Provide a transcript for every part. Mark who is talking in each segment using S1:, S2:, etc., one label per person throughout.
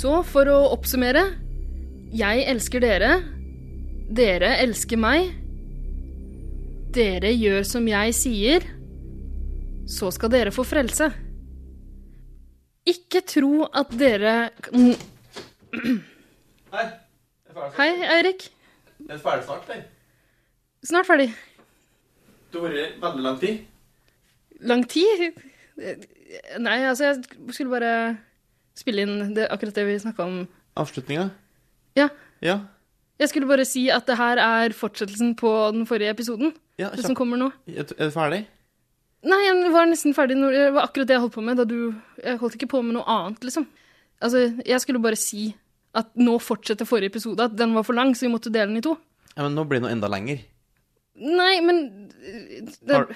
S1: Så for å oppsummere Jeg elsker dere. Dere elsker meg. Dere gjør som jeg sier. Så skal dere få frelse. Ikke tro at dere kan-
S2: Nei, jeg er ferdig snart.
S1: Hei, Eirik.
S2: Jeg er ferdig snart, jeg.
S1: Snart ferdig.
S2: Det har vært veldig lang tid.
S1: Lang tid? Nei, altså, jeg skulle bare spille inn det, akkurat det vi snakka om.
S2: Avslutninga?
S1: Ja.
S2: Ja.
S1: Jeg skulle bare si at det her er fortsettelsen på den forrige episoden.
S2: ja
S1: Det som kommer nå.
S2: Er du ferdig?
S1: Nei, jeg var nesten ferdig når Det var akkurat det jeg holdt på med da du Jeg holdt ikke på med noe annet, liksom. Altså, jeg skulle bare si at nå fortsetter forrige episode, at den var for lang, så vi måtte dele den i to.
S2: Ja, men nå blir det noe enda lenger.
S1: Nei, men øh, det,
S2: Har,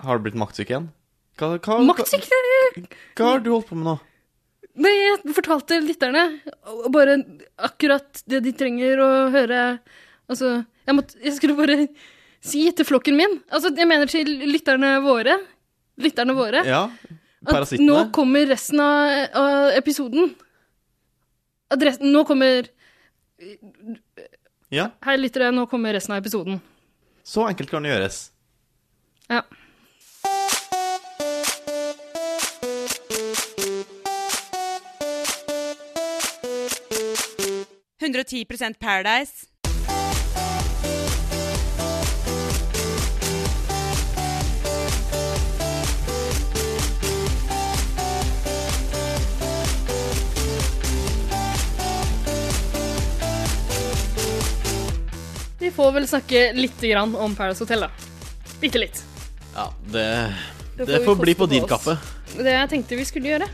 S2: har du blitt maktsyk igjen? Hva, hva,
S1: Maktsyk, det
S2: Hva, hva har du holdt på med nå?
S1: Nei, jeg fortalte lytterne og bare akkurat det de trenger å høre. Altså, jeg, måtte, jeg skulle bare si til flokken min Altså, jeg mener til lytterne våre. Lytterne våre.
S2: Ja, eh?
S1: At
S2: parasittene?
S1: nå kommer resten av, av episoden. At resten, nå kommer
S2: Ja,
S1: Hei, lyttere, nå kommer resten av episoden.
S2: så enkelt kan det gjøres.
S1: Ja.
S3: Paradise.
S1: Vi får vel snakke litt grann om Paradise Hotel, da. Bitte litt.
S2: Ja, det,
S1: Det
S2: det,
S1: får vi
S2: får bli
S1: koste
S2: på
S1: på
S2: din
S1: oss.
S2: kappe.
S1: Det jeg tenkte vi skulle gjøre,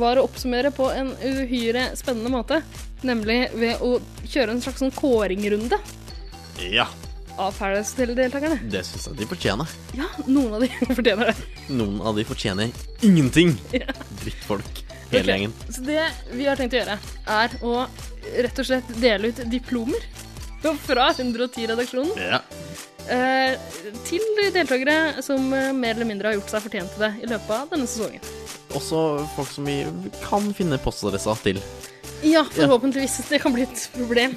S1: var å oppsummere på en uhyre spennende måte. Nemlig ved å kjøre en slags sånn kåringrunde
S2: Ja,
S1: av Paradise Hotel-deltakerne.
S2: det syns jeg de fortjener.
S1: Ja, noen av de fortjener det.
S2: Noen av de fortjener ingenting. Drittfolk. Hele
S1: Ok,
S2: gjengen.
S1: Så det vi har tenkt å gjøre, er å rett og slett dele ut diplomer fra 110-redaksjonen
S2: Ja.
S1: eh, til deltakere som eh, mer eller mindre har gjort seg fortjent til det i løpet av denne sesongen.
S2: Også folk som vi kan finne postadressa til.
S1: Ja, forhåpentligvis. Det kan bli et problem.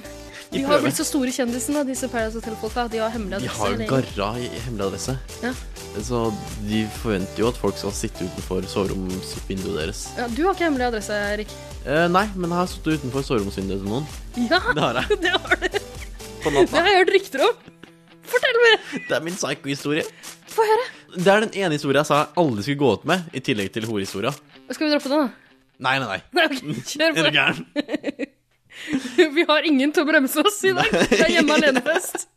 S1: De
S2: Vi
S1: har
S2: prøver.
S1: blitt så store kjendisene, disse Paradise Hotel-folka, at de har hemmelig
S2: De
S1: adresse.
S2: har jo
S1: eller-
S2: garra i hemmelig adresse.
S1: Ja.
S2: Så de forventer jo at folk skal sitte utenfor soveromsvinduet deres.
S1: ja, du har ikke hemmelig adresse, Erik.
S2: Eh, nei, men jeg har sittet utenfor soveromsvinduet til noen.
S1: Ja,
S2: Det har jeg.
S1: det har du. Det
S2: På natta.
S1: har jeg hørt rykter om. Fortell mer!
S2: Det er min psycho-historie.
S1: Få høre.
S2: Det er den ene historien jeg sa jeg aldri skulle gå ut med, i tillegg til horehistoria.
S1: Skal vi droppe den, da?
S2: Nei, nei, nei.
S1: Nei, ok, kjør på.
S2: Er du gæren?
S1: Vi har ingen til å bremse oss i dag. Det er hjemme alene-fest.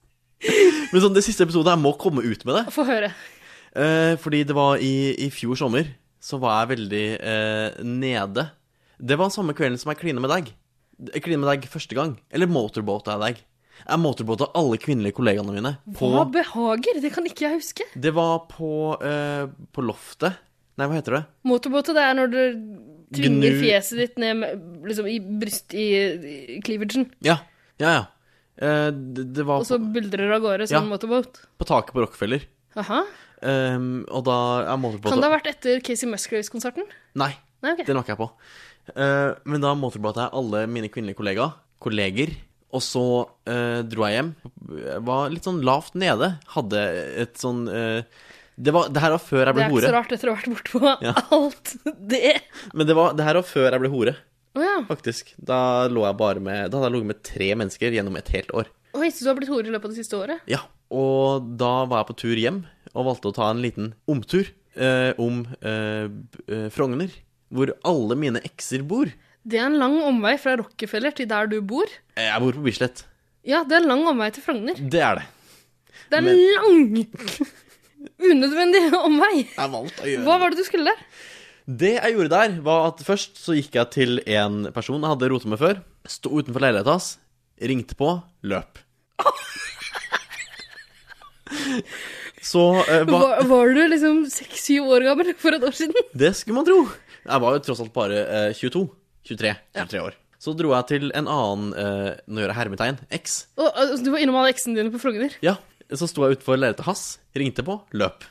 S2: Men sånn, det siste episodet, jeg må komme ut med det.
S1: Få høre.
S2: Eh, fordi det var i, i fjor sommer, så var jeg veldig eh, nede. Det var samme kvelden som jeg klina med deg. Jeg klina med deg første gang. Eller motorboata jeg deg. Jeg motorboata alle kvinnelige kollegaene mine.
S1: Hva
S2: På,
S1: behager? Det kan ikke jeg huske.
S2: det var på, eh, på loftet. Nei, hva heter det?
S1: Motorbåter, det er når du tvinger
S2: Gnu.
S1: fjeset ditt ned med- liksom, i bryst... I, i cleavagen.
S2: Ja, ja, ja. Eh, det, det var
S1: Og så
S2: på,
S1: buldrer det av gårde som
S2: Ja.
S1: en motorbåt.
S2: på taket på Rockefeller.
S1: Aha.
S2: Ehm, og da jeg motorboata
S1: Kan det ha vært etter Casey Musgraves-konserten?
S2: Nei,
S1: Nei, ok.
S2: Den var ikke jeg på. Eh, men da motorblata jeg alle mine kvinnelige kollegaer, kolleger, og så eh, dro jeg hjem. Jeg Var litt sånn lavt nede. Hadde et sånn eh, det, var, det her var før jeg
S1: Det
S2: ble
S1: er ikke så
S2: hore.
S1: rart etter å ha vært bortpå
S2: Ja.
S1: alt det.
S2: Men det, var, det her var før jeg ble hore,
S1: Å ja.
S2: faktisk. Da lå jeg bare med Da hadde jeg ligget med tre mennesker gjennom et helt år.
S1: Oi, så du har blitt hore i løpet av det siste året?
S2: Ja. Og da var jeg på tur hjem, og valgte å ta en liten omtur eh, om eh, b- eh, Frogner. Hvor alle mine ekser bor.
S1: Det er en lang omvei fra Rockefeller til der du bor.
S2: Eh, Jeg bor på Bislett.
S1: Ja, det er en lang omvei til Frogner.
S2: Det er det.
S1: Det er en
S2: Men-
S1: lang, unødvendig omvei.
S2: Jeg valgte å gjøre
S1: Hva var det du skulle der?
S2: Det jeg gjorde der, var at først så gikk jeg til en person jeg hadde rota med før. Sto utenfor leiligheta hans, ringte på, løp. Så eh, hva
S1: Var, var du liksom seks-syv år gammel for et år siden?
S2: Det skulle man tro. Jeg var jo tross alt bare eh, 22. 23. 23 år. Så dro jeg til en annen eh, Nå gjør jeg hermetegn. X.
S1: Og, altså, du var innom alle eksene dine på Frogner?
S2: Ja. Så sto jeg utenfor leiligheta hans, ringte på, løp.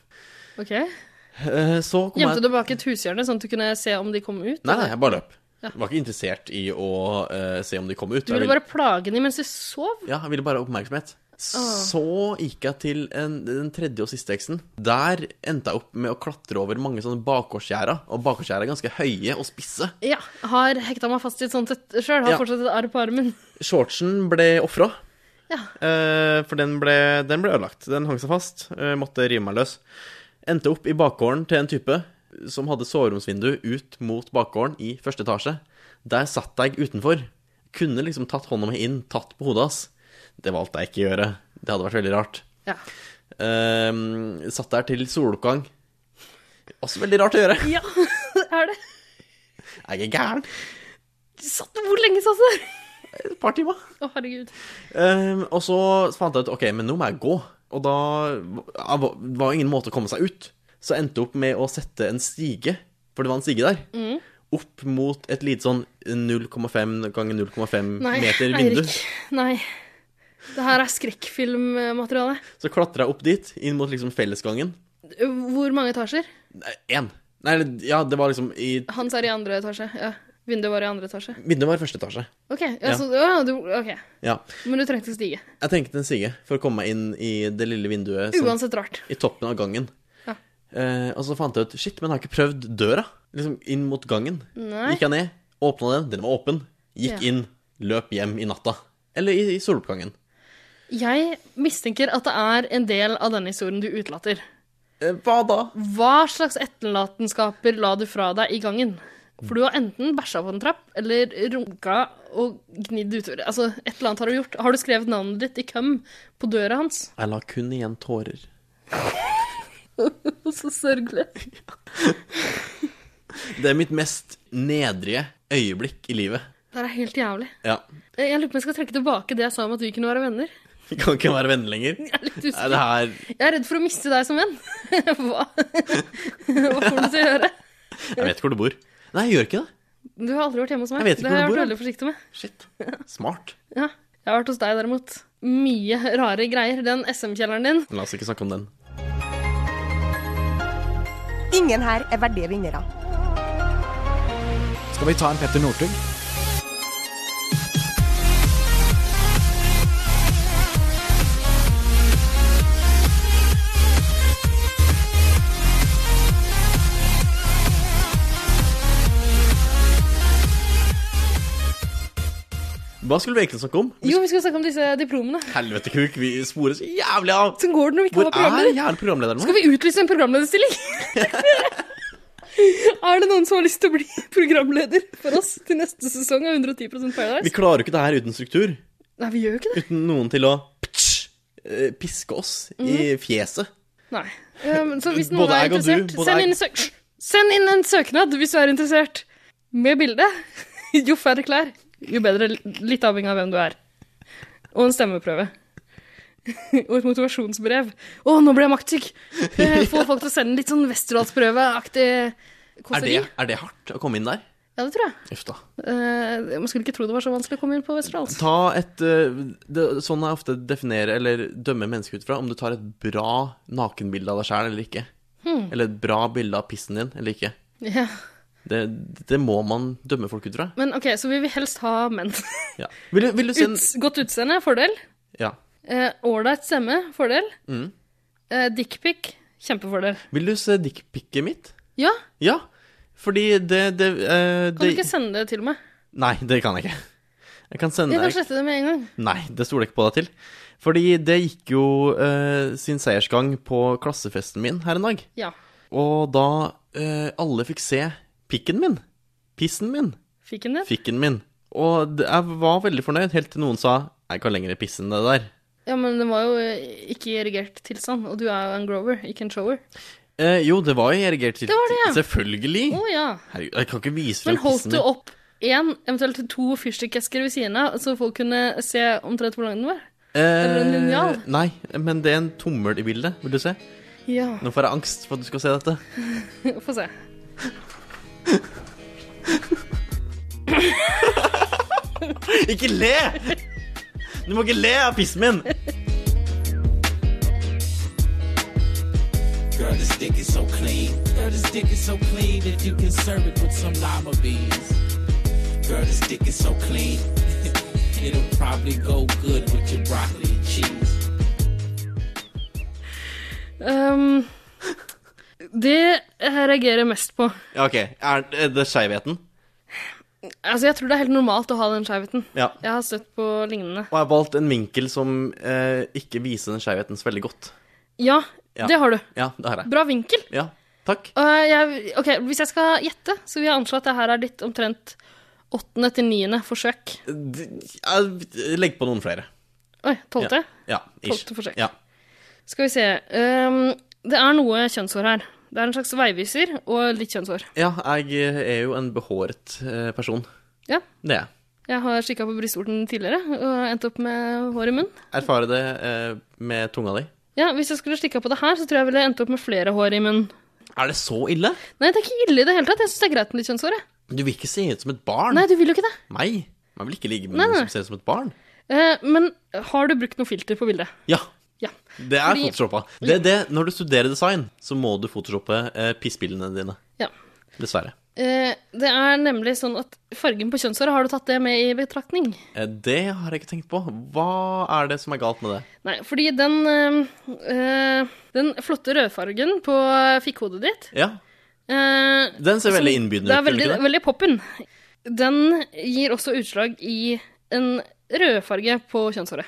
S1: Ok.
S2: Eh, så kom
S1: Gjemte
S2: jeg
S1: du bak et hushjørne, sånn at du kunne se om de kom ut?
S2: Nei, nei, jeg bare løp. Var ikke interessert i å eh, se om de kom ut.
S1: Du
S2: Jeg
S1: ville
S2: vil-
S1: bare plage dem mens de sov?
S2: Ja, jeg ville bare ha oppmerksomhet. Så gikk jeg til en, den tredje og siste teksten. Der endte jeg opp med å klatre over mange sånne bakgårdsgjerder. Og bakgårdsgjerder er ganske høye og spisse.
S1: Ja. Har hekta meg fast i et sånt et sjøl. Har
S2: Ja.
S1: fortsatt et arr på armen.
S2: Shortsen ble ofra.
S1: Ja.
S2: Eh, for den ble, den ble ødelagt. Den hang seg fast. Eh, måtte rive meg løs. Endte opp i bakgården til en type som hadde soveromsvindu ut mot bakgården i første etasje. Der satt jeg utenfor. Kunne liksom tatt hånda mi inn, tatt på hodet hans. Det valgte jeg ikke å gjøre. Det hadde vært veldig rart.
S1: Ja.
S2: Eh, satt der til soloppgang. Også veldig rart å gjøre.
S1: ja. er det?
S2: Jeg er gæren.
S1: Satt hvor lenge satt du der?
S2: Et par timer.
S1: Å, herregud.
S2: Ehm, og så fant jeg ut ok, men nå må jeg gå. Og da ja, var var ingen måte å komme seg ut. Så jeg endte opp med å sette en stige, for det var en stige der, opp mot et lite sånn 0,5 ganger 0,5
S1: Nei,
S2: meter vindu.
S1: Eirik. Nei. Det her er skrekkfilmmateriale.
S2: Så klatra jeg opp dit, inn mot liksom fellesgangen.
S1: Hvor mange etasjer?
S2: Nei, Én. Nei, eller- ja, det var liksom i
S1: Hans er i andre etasje. Ja. Vinduet var i andre etasje.
S2: Vinduet var i første etasje.
S1: OK. Ja, så, ja, du, ok.
S2: Ja.
S1: Men du trengte stige.
S2: Jeg trengte en stige for å komme meg inn i det lille vinduet som,
S1: Uansett rart.
S2: i toppen av gangen.
S1: Ja.
S2: Eh, og så fant jeg ut Shit, men jeg har ikke prøvd døra. Liksom inn mot gangen.
S1: Nei.
S2: Gikk jeg ned, åpna den, den var åpen. Gikk
S1: Ja.
S2: inn, løp hjem i natta. Eller i, i soloppgangen.
S1: Jeg mistenker at det er en del av denne historien du utelater.
S2: Eh, hva da?
S1: Hva slags etterlatenskaper la du fra deg i gangen? For du har enten bæsja på en trapp, eller runka og gnidd utover. Altså, et eller annet har du gjort. Har du skrevet navnet ditt i køm på døra hans?
S2: Jeg la kun igjen tårer.
S1: Så sørgelig.
S2: Det er mitt mest nedrige øyeblikk i livet.
S1: Det er helt jævlig.
S2: Ja.
S1: Jeg lurer på om jeg skal trekke tilbake det jeg sa om at vi kunne være venner.
S2: Vi kan ikke være venner lenger.
S1: Jeg er litt
S2: Nei,
S1: usikker.
S2: det her
S1: Jeg er redd for å miste deg som venn. Hva, Hva får du til å gjøre?
S2: Jeg vet ikke hvor du bor. Nei, jeg gjør ikke det.
S1: Du har aldri vært hjemme hos meg.
S2: Jeg vet ikke
S1: det har jeg
S2: hvor
S1: vært
S2: du bor,
S1: veldig forsiktig med.
S2: Shit. Smart.
S1: Ja. Jeg har vært hos deg, derimot. Mye rare greier. Den SM-kjelleren din.
S2: La oss ikke snakke om den.
S4: Ingen her er verdige vinnere.
S5: Skal vi ta en Petter Northug?
S2: Hva skulle vi egentlig snakke om?
S1: Jo, vi skulle snakke om disse diplomene.
S2: Helvete kuk, vi sporer så jævlig av.
S1: Hvordan går det når vi ikke
S2: Hvor
S1: har
S2: er
S1: programleder?
S2: jævla programlederen vår?
S1: Skal vi utlyse en programlederstilling? er det noen som har lyst til å bli programleder for oss til neste sesong av 110
S2: Vi
S1: Paradise?
S2: klarer jo ikke det her uten struktur.
S1: Nei, vi gjør jo ikke det.
S2: Uten noen til å ptsj, eh, piske oss
S1: Mhm.
S2: i fjeset.
S1: Nei. Um, så hvis noen
S2: Både
S1: er
S2: jeg og du,
S1: interessert,
S2: både
S1: send
S2: jeg-
S1: inn, søk Hysj! send inn en søknad hvis du er interessert. Med bilde. Jo færre klær, jo bedre. Litt avhengig av hvem du er. Og en stemmeprøve. Og et motivasjonsbrev. Å, nå ble jeg maktsyk! Eh, Få folk til å sende litt sånn Westerdalsprøve-aktig
S2: Er det,
S1: kåseri.
S2: er det hardt å komme inn der?
S1: Ja, det tror jeg.
S2: Uff da.
S1: Eh, man skulle ikke tro det var så vanskelig å komme inn på Westerdals.
S2: Ta et eh, det, Sånn jeg ofte definerer eller dømmer mennesker ut fra om du tar et bra nakenbilde av deg sjæl eller ikke.
S1: Hmm.
S2: Eller et bra bilde av pissen din eller ikke.
S1: Ja.
S2: Det, det må man dømme folk ut fra.
S1: Men OK, så vi vil helst ha menn.
S2: Ja. Vil, du- vil du se en
S1: Uts godt utseende, fordel.
S2: ja.
S1: Eh, Ålreit stemme, fordel.
S2: Mm.
S1: Eh, Dickpic, kjempefordel.
S2: Vil du se dickpicet mitt?
S1: Ja,
S2: Ja. Fordi det, det, eh,
S1: kan
S2: det
S1: du ikke sende det til meg?
S2: Nei, det kan jeg ikke. Jeg kan sende
S1: Jeg kan
S2: deg
S1: slette det med en gang.
S2: Nei, det stoler jeg ikke på deg til. Fordi det gikk jo eh, sin seiersgang på klassefesten min her en dag.
S1: Ja.
S2: Og da eh, alle fikk se pikken min, pissen min,
S1: Fikk han det?
S2: fikken min. Og det, jeg var veldig fornøyd, helt til noen sa jeg kan lenger pisse enn det der.
S1: Ja, men den var jo eh, ikke i erigert tilstand, og du er jo en grower, ikke en shower.
S2: Eh, jo, det var jo erigert til
S1: Det var det, ja.
S2: Selvfølgelig!
S1: Å ja.
S2: Herregud, jeg kan ikke vise
S1: Men
S2: frem
S1: holdt
S2: pissen
S1: du
S2: min.
S1: opp én, eventuelt to fyrstikkesker ved siden av, så folk kunne se omtrent hvor lang den var?
S2: Eh,
S1: en linjal?
S2: Nei, men det er en tommel i bildet. Vil du se?
S1: Ja.
S2: Nå får jeg angst for at du skal se dette.
S1: Få se.
S2: Ikke le! Du må ikke le av pissen min!
S6: Girl, this dick is so clean. Girl, this dick is so clean that you can serve it with some lima beans.
S5: Girl, this dick is so clean. It'll probably go good with your broccoli and cheese.
S1: Ehm, det jeg reagerer mest på
S2: Ja, ok. Er, er det skjevheten?
S1: Altså, jeg tror det er helt normalt å ha den skjevheten.
S2: Ja.
S1: Jeg har støtt på lignende.
S2: Og jeg har valgt en vinkel som eh, ikke viser den skjevheten så veldig godt.
S1: Ja,
S2: Ja.
S1: det har du.
S2: Ja, det har jeg.
S1: Bra vinkel.
S2: Ja, takk.
S1: Og jeg, ok, Hvis jeg skal gjette, så vil jeg anslå at det her er ditt omtrent åttende til niende forsøk.
S2: D- jeg- Legg på noen flere.
S1: Oi, tolvte?
S2: Ja, ish.
S1: Tolvte forsøk.
S2: Ja.
S1: Skal vi se. Ehm, det er noe kjønnshår her. Det er en slags veiviser og litt kjønnshår.
S2: ja, jeg eh, er jo en behåret eh, person.
S1: Ja.
S2: Det er jeg.
S1: Jeg har kikka på brystvorten tidligere og endt opp med hår i munnen.
S2: Erfare det eh, med tunga di.
S1: Ja, Hvis jeg skulle slikka på det her, så tror jeg jeg ville endt opp med flere hår i munnen.
S2: Er det så ille?
S1: Nei, det er ikke ille i det hele tatt. Jeg syns det er greit med litt kjønnshår. Jeg.
S2: Du vil ikke se ut som et barn.
S1: Nei, du vil jo ikke det.
S2: Nei. Man vil ikke ligge med
S1: Nei,
S2: noen
S1: nei.
S2: som ser ut som et barn.
S1: Eh, men har du brukt noe filter på bildet?
S2: Ja.
S1: Ja.
S2: Det er
S1: Fordi-
S2: photoshoppa. Det, er det, når du studerer design, så må du photoshoppe eh, pissbildene dine.
S1: Ja.
S2: Dessverre.
S1: Eh, det er nemlig sånn at fargen på kjønnshåret, har du tatt det med i betraktning?
S2: Eh, det har jeg ikke tenkt på. Hva er det som er galt med det?
S1: Nei, fordi den eh, eh, Den flotte rødfargen på fikkhodet ditt
S2: Ja,
S1: eh,
S2: Den ser
S1: som-
S2: veldig innbydende
S1: Det er
S2: ut, gjør den
S1: veldig,
S2: ikke det?
S1: veldig poppen. Den gir også utslag i en rødfarge på kjønnshåret.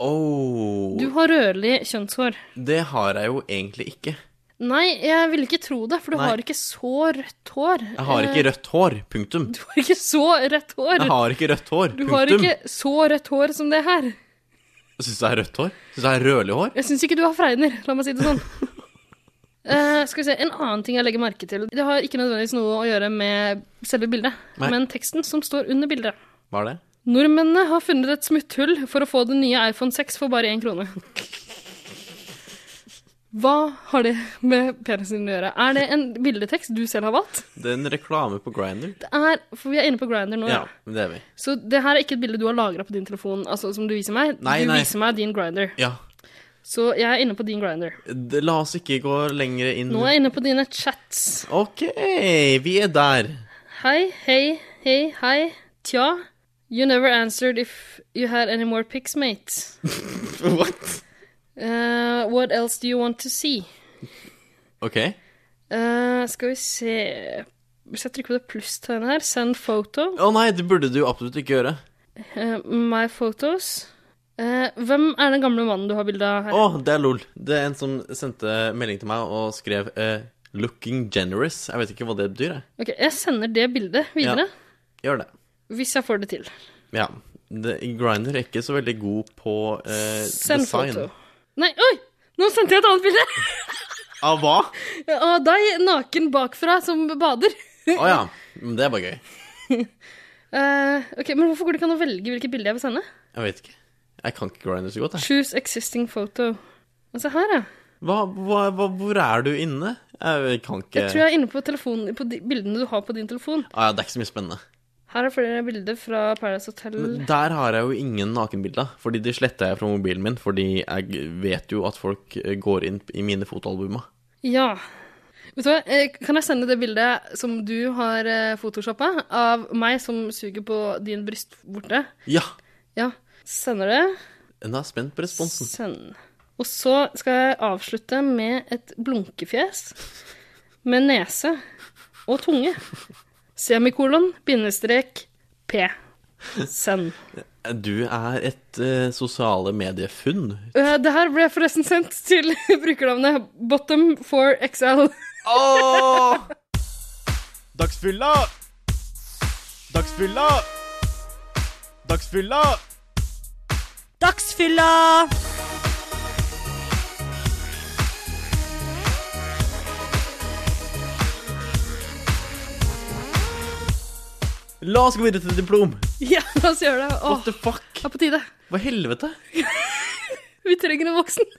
S2: oh,
S1: Du har rødlig kjønnshår.
S2: Det har jeg jo egentlig ikke.
S1: Nei, jeg ville ikke tro det, for du
S2: Nei.
S1: har ikke så rødt hår.
S2: Jeg har
S1: Eh,
S2: ikke rødt hår. Punktum.
S1: Du har ikke så rødt hår.
S2: Jeg har ikke rødt hår.
S1: Du har
S2: Punktum.
S1: ikke så rødt hår som det her.
S2: Syns du jeg har rødt hår? Syns du jeg har rødlig hår?
S1: Jeg syns ikke du har fregner, la meg si det sånn. Eh, skal vi se, En annen ting jeg legger merke til Det har ikke nødvendigvis noe å gjøre med selve bildet,
S2: Nei.
S1: men teksten som står under bildet.
S2: Hva er det?
S1: Nordmennene har funnet et smutthull for å få den nye iPhone 6 for bare én krone. Hva har det med penisen din å gjøre? Er det en bildetekst du selv har valgt?
S2: Det er en reklame på Grinder.
S1: Det er, for Vi er inne på Grinder nå,
S2: Ja,
S1: ja.
S2: det er vi.
S1: så det her er ikke et bilde du har lagra på din telefon. Altså som Du viser meg
S2: Nei,
S1: Du
S2: nei.
S1: viser meg din Grinder.
S2: Ja.
S1: Så jeg er inne på din Grinder.
S2: D- La oss ikke gå lenger inn
S1: Nå er jeg inne på dine chats.
S2: Ok, vi er der.
S1: Hei, hei, hei, hei. Tja. You never answered if you had any more pics, mate.
S2: What?
S1: Uh, what else do you want to see?
S2: Ok.
S1: Uh, skal vi se Hvis jeg trykker på det plusstegnet her Send photo.
S2: Å nei, det burde du jo absolutt ikke gjøre.
S1: Uh, my photos. Uh, hvem er den gamle mannen du har bilde av
S2: Å,
S1: her?
S2: det er lol. Det er en som sendte melding til meg og skrev eh, 'looking generous'. Jeg vet ikke hva det betyr, jeg.
S1: Ok, Jeg sender det bildet videre
S2: Gjør det.
S1: hvis jeg får det til.
S2: Ja. Det, Grinder er ikke så veldig god på eh,
S1: Send
S2: design.
S1: foto. Nei, oi! Nå sendte jeg et annet bilde!
S2: Av Ah, hva?
S1: Av deg naken bakfra som bader.
S2: Å ja. Men det er bare gøy.
S1: Eh, ok, Men hvorfor går det ikke an å velge hvilket bilde jeg vil sende?
S2: Jeg vet ikke. Jeg kan ikke Grinder så godt, jeg.
S1: Choose existing photo. Og se her, ja.
S2: Hva, hva, hva, hvor er du inne? Jeg kan ikke
S1: Jeg tror jeg er inne på, telefonen, på de bildene du har på din telefon.
S2: ah, ja, Det er ikke så mye spennende.
S1: Her er flere bilder fra Paradise Hotel.
S2: Men Der har jeg jo ingen nakenbilder, fordi de sletta jeg fra mobilen min. Fordi jeg vet jo at folk eh, går inn i mine fotoalbumer.
S1: Ja. Vet du hva, eh, Kan jeg sende det bildet som du har eh, photoshoppa, av meg som suger på din brystvorte?
S2: Ja!
S1: Ja. Sender det.
S2: Nå er jeg spent på responsen.
S1: Send. Og så skal jeg avslutte med et blunkefjes med nese og tunge. Semikolon, bindestrek, P. Send.
S2: Du er et eh, sosiale mediefunn.
S1: Eh, det her ble forresten sendt til brukernavnet Bottom4XL.
S2: Åh!
S6: Dagsfylla! Dagsfylla! Dagsfylla!
S3: Dagsfylla!
S2: La oss gå videre til diplom.
S1: Ja, la oss gjøre det. Åh,
S2: What the fuck?
S1: det er på tide.
S2: Hva i helvete?
S1: Vi trenger en voksen.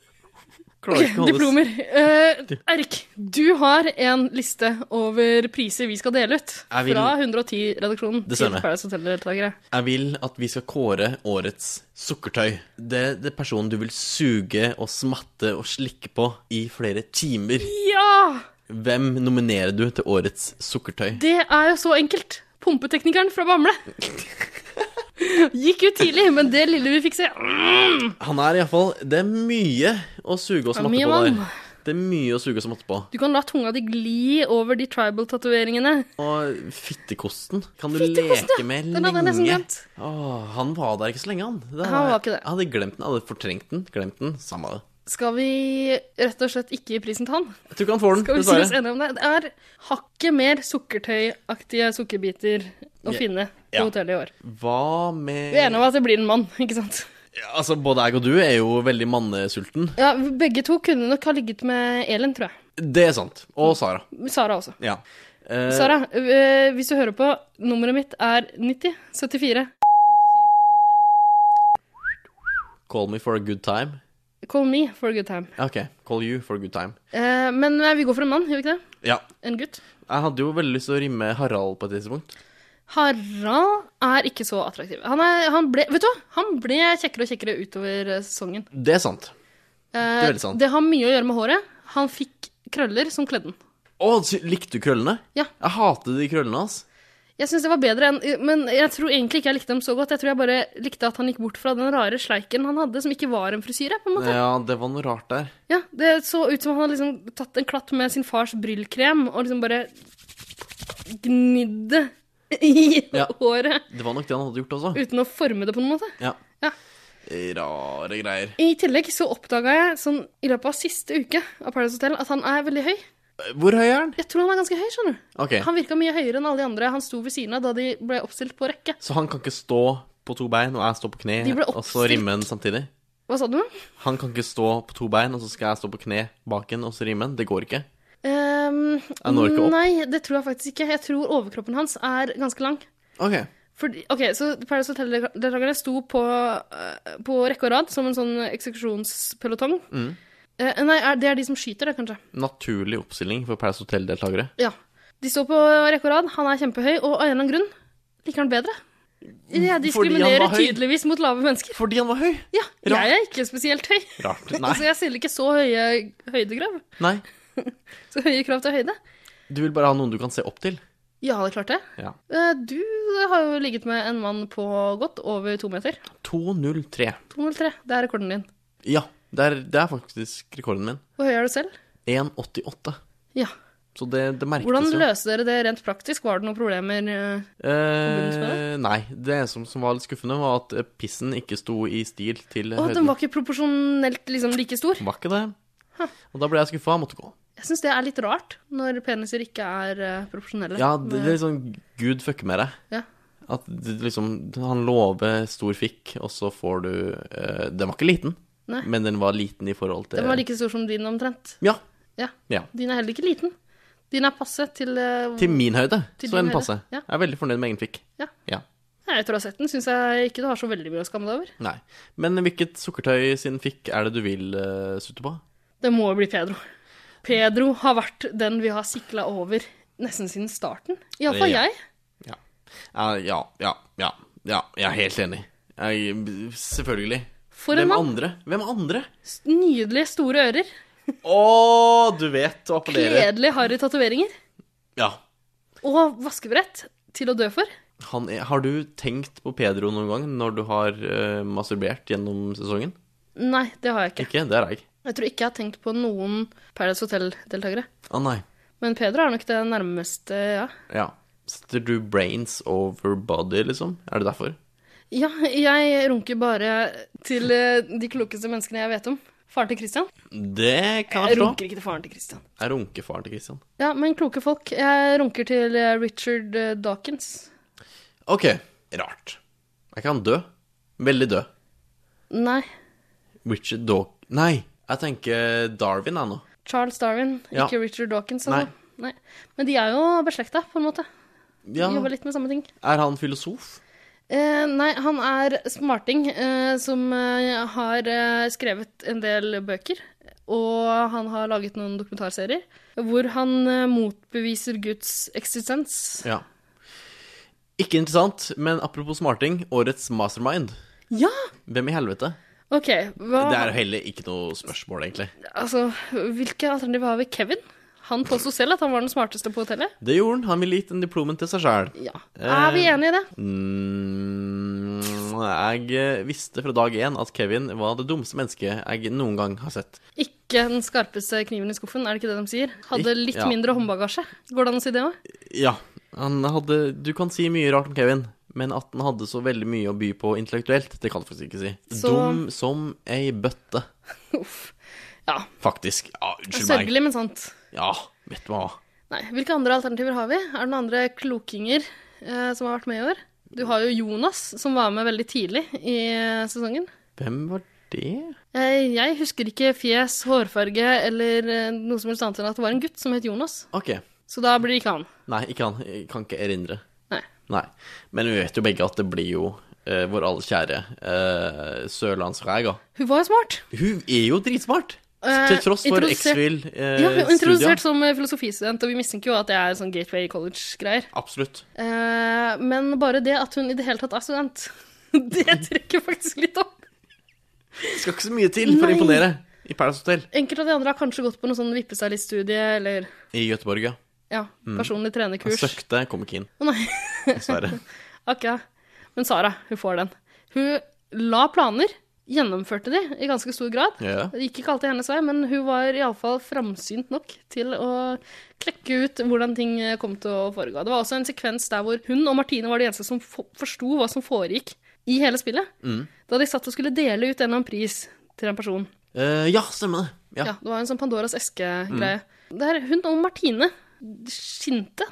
S2: Klarer ikke å holde
S1: Diplomer. Eh, Eirik, du har en liste over priser vi skal dele ut.
S2: Jeg vil-
S1: Fra 110-redaksjonen
S2: Det
S1: til
S2: stemmer.
S1: Paradise Hotel-deltakere.
S2: Jeg vil at vi skal kåre årets sukkertøy. Det er det personen du vil suge og smatte og slikke på i flere timer.
S1: Ja!
S2: Hvem nominerer du til årets sukkertøy?
S1: Det er jo så enkelt. pumpeteknikeren fra Bamble. Gikk ut tidlig, men det lille vi fikk se
S2: Han er iallfall Det er mye å suge og
S1: Ja,
S2: smatte
S1: mye
S2: på
S1: mann.
S2: der. Det er mye å suge og smatte på.
S1: Du kan la tunga di gli over de tribal-tatoveringene.
S2: Og fittekosten kan du
S1: Fittekosten, ja.
S2: leke med
S1: Den hadde jeg nesten
S2: lenge.
S1: glemt.
S2: Åh, han var der ikke så lenge, han. Det
S1: Han var ikke det.
S2: Jeg hadde glemt den, jeg hadde fortrengt den. Glemt den, Samme det.
S1: Skal vi rett og slett ikke gi prisen til han?
S2: Jeg tror ikke han får den,
S1: Skal vi si oss
S2: dessverre.
S1: enige om det? Det er hakket mer sukkertøyaktige sukkerbiter å
S2: Ja.
S1: finne på
S2: Ja.
S1: hotellet i år.
S2: Hva
S1: Vi er enige
S2: med
S1: om at det blir en mann, ikke sant?
S2: ja, Altså, både jeg og du er jo veldig mannesulten.
S1: Ja, Begge to kunne nok ha ligget med Elin, tror jeg.
S2: Det er sant. Og Sara.
S1: Sara også.
S2: Ja. Eh,
S1: Sara, øh, hvis du hører på, nummeret mitt er 90 74.
S2: Call me for a good time.
S1: Call me for a good time.
S2: Ja, OK. Call you for a good time.
S1: Eh, men nei, vi går for en mann, gjør vi ikke det?
S2: Ja.
S1: En gutt.
S2: Jeg hadde jo veldig lyst til å rimme Harald på et tidspunkt.
S1: Harald er ikke så attraktiv. Han, er, han, ble, vet du, hva? han ble kjekkere og kjekkere utover eh, sesongen.
S2: Det er sant.
S1: Eh,
S2: veldig sant.
S1: det har mye å gjøre med håret. Han fikk krøller som kledde den.
S2: Å, sy- likte du krøllene?
S1: Ja.
S2: Jeg hater de krøllene hans.
S1: Jeg syns det var bedre enn Men jeg tror egentlig ikke jeg likte dem så godt. Jeg tror jeg bare likte at han gikk bort fra den rare sleiken han hadde, som ikke var en frisyre, på en måte.
S2: Ja, det var noe rart der.
S1: Ja, Det så ut som han hadde liksom tatt en klatt med sin fars bryllkrem og liksom bare gnidd det i
S2: Ja.
S1: håret
S2: Det var nok det han hadde gjort også.
S1: uten å forme det på noen måte.
S2: Ja.
S1: Ja.
S2: Rare greier.
S1: I tillegg så oppdaga jeg sånn i løpet av siste uke av Paradise Hotel at han er veldig høy.
S2: Hvor høy er han?
S1: Jeg tror han er ganske høy, skjønner du.
S2: Ok,
S1: Han virka mye høyere enn alle de andre. Han sto ved siden av da de ble oppstilt på rekke.
S2: Så han kan ikke stå på to bein, og jeg står på kne,
S1: De ble
S2: og så
S1: oppstilt.
S2: rimme den samtidig?
S1: Hva sa du?
S2: Han kan ikke stå på to bein, og så skal jeg stå på kne bak en, og så rimme den? Det går ikke.
S1: Um,
S2: Han når ikke opp.
S1: Nei, det tror jeg faktisk ikke. Jeg tror overkroppen hans er ganske lang.
S2: Ok,
S1: Fordi, ok, så Paradise Hotel-deltakerne sto på, eh, på rekke og rad som en sånn eksekusjonspelotong.
S2: Mm.
S1: Eh, nei, er, det er de som skyter, det, kanskje.
S2: Naturlig oppstilling for Paradise Hotel-deltakere.
S1: Ja. De står på rekke og rad, han er kjempehøy, og av en eller annen grunn liker han bedre. Jeg diskriminerer
S2: var høy.
S1: tydeligvis mot lave mennesker.
S2: Fordi han var høy!
S1: Ja,
S2: Rart.
S1: jeg er ikke spesielt høy.
S2: Rart. Nei.
S1: Altså, jeg stiller ikke så høye høydekrav.
S2: Nei.
S1: Så høye krav til høyde.
S2: Du vil bare ha noen du kan se opp til.
S1: Ja, det er klart det.
S2: Ja.
S1: Eh, Du har jo ligget med en mann på godt over to meter.
S2: 203.
S1: 203. Det er rekorden din.
S2: Ja, det er, det er faktisk rekorden min.
S1: Hvor høy er du selv?
S2: 1,88.
S1: Ja.
S2: Så det, det merkes
S1: Hvordan
S2: jo.
S1: løste dere det rent praktisk? Var det noen problemer? eh?
S2: Eh, nei. Det som, som var litt skuffende, var at eh, pissen ikke sto i stil til
S1: Å, den var ikke proporsjonelt liksom like stor.
S2: Var ikke det. Og da ble jeg skuffa og måtte gå.
S1: Jeg syns det er litt rart når peniser ikke er eh, proporsjonelle.
S2: Ja, det, det er sånn Gud fucker med deg.
S1: Ja.
S2: At det, liksom Han lover stor fikk, og så får du eh, Den var ikke liten,
S1: Nei.
S2: men den var liten i forhold til
S1: Den var like stor som din omtrent.
S2: Ja.
S1: Ja.
S2: ja.
S1: Din er heller ikke liten. Din er passe til eh,
S2: Til min høyde,
S1: Til
S2: så
S1: din
S2: den
S1: høyde,
S2: passer.
S1: ja.
S2: Jeg er veldig fornøyd med egen fikk.
S1: Ja. Nei, Etter å ha sett den syns jeg ikke du har så veldig mye å skamme deg over.
S2: Nei. Men hvilket sukkertøy sin fikk er det du vil eh, sutte på?
S1: Det må jo bli Pedro. Pedro har vært den vi har sikla over nesten siden starten. Iallfall
S2: Ja.
S1: jeg.
S2: Ja, ja, ja, ja. ja jeg er helt enig. Jeg, selvfølgelig.
S1: For en
S2: Hvem
S1: mann.
S2: andre? Hvem andre?
S1: S- Nydelige, store ører.
S2: Å, du vet å appellere.
S1: Kledelig, harry tatoveringer.
S2: Ja.
S1: Og vaskebrett til å dø for.
S2: Han er, har du tenkt på Pedro noen gang når du har eh, masturbert gjennom sesongen?
S1: Nei, det har jeg ikke.
S2: Ikke? Det har jeg.
S1: Jeg tror ikke jeg har tenkt på noen Paradise Hotel-deltakere.
S2: Å nei.
S1: Men Pedro er nok det nærmeste, ja.
S2: Ja. Setter du brains over body, liksom? Er det derfor?
S1: Ja, jeg runker bare til eh, de klokeste menneskene jeg vet om. Faren til Christian.
S2: Det kan
S1: Jeg
S2: jeg forstå.
S1: runker ikke til faren til Christian.
S2: Jeg runker faren til Christian.
S1: Ja, men kloke folk. Jeg runker til eh, Richard eh, Dawkins.
S2: OK. Rart. Er ikke han død? Veldig død.
S1: Nei,
S2: Richard Dawk... Nei, jeg tenker Darwin, jeg nå.
S1: Charles Darwin,
S2: Ja.
S1: ikke Richard Dawkins. Altså. Nei. Men de er jo beslekta, på en måte.
S2: Ja.
S1: Jobber litt med samme ting.
S2: Er han filosof?
S1: Eh, nei, han er smarting eh, som eh, har eh, skrevet en del bøker. Og han har laget noen dokumentarserier hvor han eh, motbeviser Guds eksistens.
S2: Ja. Ikke interessant, men apropos smarting, årets mastermind.
S1: Ja!
S2: Hvem i helvete?
S1: OK, hva
S2: Det er jo heller ikke noe spørsmål, egentlig.
S1: Altså, hvilke alternativer har vi? Kevin? Han påsto selv at han var den smarteste på hotellet.
S2: Det gjorde han. Han ville gitt en diplomen til seg sjæl.
S1: Ja. Er vi enige i det?
S2: Mm, jeg eh, visste fra dag én at Kevin var det dummeste mennesket jeg noen gang har sett.
S1: Ikke den skarpeste kniven i skuffen, er det ikke det de sier? Hadde
S2: Ik-
S1: litt
S2: ja.
S1: mindre håndbagasje. Går det an å si det òg?
S2: Ja, han hadde Du kan si mye rart om Kevin, men at han hadde så veldig mye å by på intellektuelt, det kan du faktisk ikke si.
S1: Så-
S2: Dum som ei bøtte,
S1: Uff. Ja.
S2: faktisk. Ja, unnskyld meg.
S1: Sørgelig, men sant.
S2: Ja, vet du hva.
S1: Nei. Hvilke andre alternativer har vi? Er det noen andre klokinger eh, som har vært med i år? Du har jo Jonas, som var med veldig tidlig i eh, sesongen.
S2: Hvem var det?
S1: Eh, Jeg husker ikke fjes, hårfarge eller eh, noe som helst annet enn at det var en gutt som het Jonas.
S2: OK.
S1: Så da blir det ikke han.
S2: Nei, ikke han. Jeg kan ikke erindre.
S1: Nei.
S2: Nei. Men vi vet jo begge at det blir jo eh, vår alles kjære eh, sørlandsræga.
S1: Hun var jo smart.
S2: Hun er jo dritsmart!
S1: Eh,
S2: Til tross for eh,
S1: introdusert- Ja, hun er
S2: X-Fill-studia.
S1: introdusert som eh, filosofistudent, og vi mistenker jo at det er sånn Gateway College-greier.
S2: Absolutt.
S1: Eh, men bare det at hun i det hele tatt er student, det trekker faktisk litt opp.
S2: Det skal ikke så mye til for å
S1: Nei.
S2: imponere i Paradise Hotel.
S1: Enkelte av de andre har kanskje gått på noe sånn vippe seg litt-studie, eller
S2: I Gøteborg, ja.
S1: ja, personlig
S2: Han
S1: trenerkurs.
S2: søkte, kom ikke inn.
S1: Å nei,
S2: Dessverre.
S1: akkurat. Men Sara, hun får den. Hun la planer, gjennomførte de i ganske stor grad.
S2: Ja.
S1: Det gikk ikke alltid hennes vei, men hun var iallfall framsynt nok til å klekke ut hvordan ting kom til å foregå. Det var også en sekvens der hvor hun og Martine var de eneste som fo- forsto hva som foregikk i hele spillet. Da de satt og skulle dele ut en eller annen pris til en person.
S2: Eh, ja, stemmer det. Ja.
S1: Ja, Det var en sånn Pandoras eske-greie. Der hun og Martine skinte,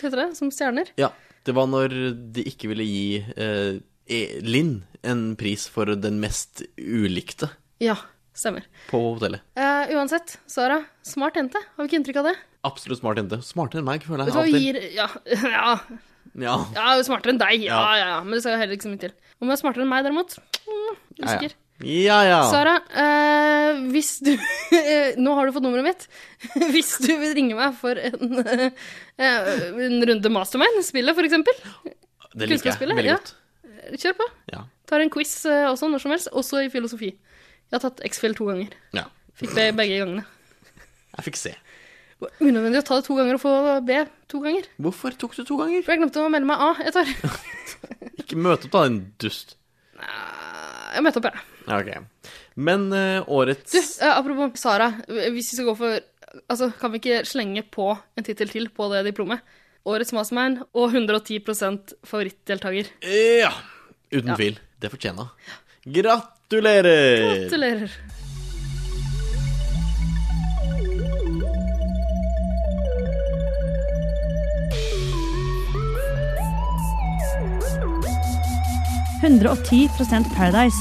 S1: heter det, som stjerner.
S2: Ja, det var når de ikke ville gi eh, E- Linn en pris for den mest ulikte
S1: Ja, stemmer.
S2: på hotellet.
S1: Eh, uansett, Sara, smart jente. Har vi ikke inntrykk av det?
S2: Absolutt smart jente. Smartere enn meg, føler
S1: Vet
S2: jeg.
S1: du hva
S2: av og
S1: hun
S2: til.
S1: gir Ja, ja
S2: Ja.
S1: Ja, hun er smartere enn deg. Ja,
S2: Ja.
S1: ja, ja. Men det skal jo heller ikke så mye til. Om hun er smartere enn meg, derimot mm, Usikker.
S2: Ja, Ah. ja. ja.
S1: Sara, eh, hvis du eh, Nå har du fått nummeret mitt. hvis du vil ringe meg for en, eh, en runde mastermind, spillet f.eks.,
S2: Det liker jeg
S1: Kunnskapsspillet,
S2: veldig
S1: ja.
S2: godt.
S1: kjør på.
S2: Ja.
S1: Tar en quiz eh, også når som helst, også i filosofi. Jeg har tatt X-Fill to ganger.
S2: ja.
S1: Fikk B begge gangene.
S2: Jeg fikk se.
S1: Det var Unødvendig å ta det to ganger og få B to ganger.
S2: Hvorfor tok du to ganger?
S1: For jeg glemte å melde meg A et år.
S2: Ikke møte opp, da, din dust.
S1: Nei, Jeg møtte opp, jeg.
S2: Ja, ok. Men eh, årets
S1: Du, eh, apropos Sara. Hvis vi skal gå for Altså, kan vi ikke slenge på en tittel til på det diplomet? Årets Mastermind og 110 favorittdeltaker.
S2: Ja. Uten tvil. Det fortjener hun. Gratulerer!
S1: Gratulerer.
S7: Paradise.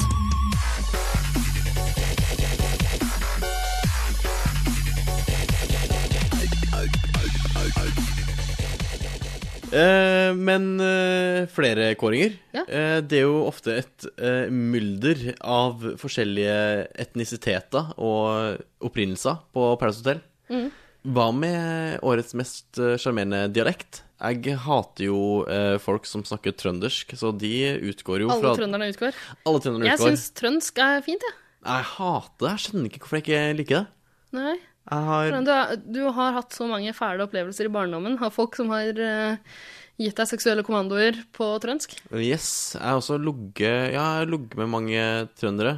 S2: Eh, men eh, flere kåringer.
S1: Ja.
S2: Eh, det er jo ofte et eh, mylder av forskjellige etnisiteter og opprinnelser på Paradise Hotel.
S1: Mm.
S2: Hva med årets mest eh, sjarmerende dialekt? Jeg hater jo eh, folk som snakker trøndersk, så de utgår jo
S1: Alle
S2: fra
S1: trønderne utgår.
S2: Alle trønderne
S1: Jeg
S2: utgår.
S1: syns trønsk er fint, jeg.
S2: Jeg hater det. Jeg skjønner ikke hvorfor jeg ikke liker det.
S1: Ja. Nei.
S2: Jeg har
S1: Men Du, er- du har hatt så mange fæle opplevelser i barndommen. Har folk som har eh, gitt deg seksuelle kommandoer på trønsk?
S2: Yes, jeg har også ligget Ja, jeg har ligget med mange trøndere.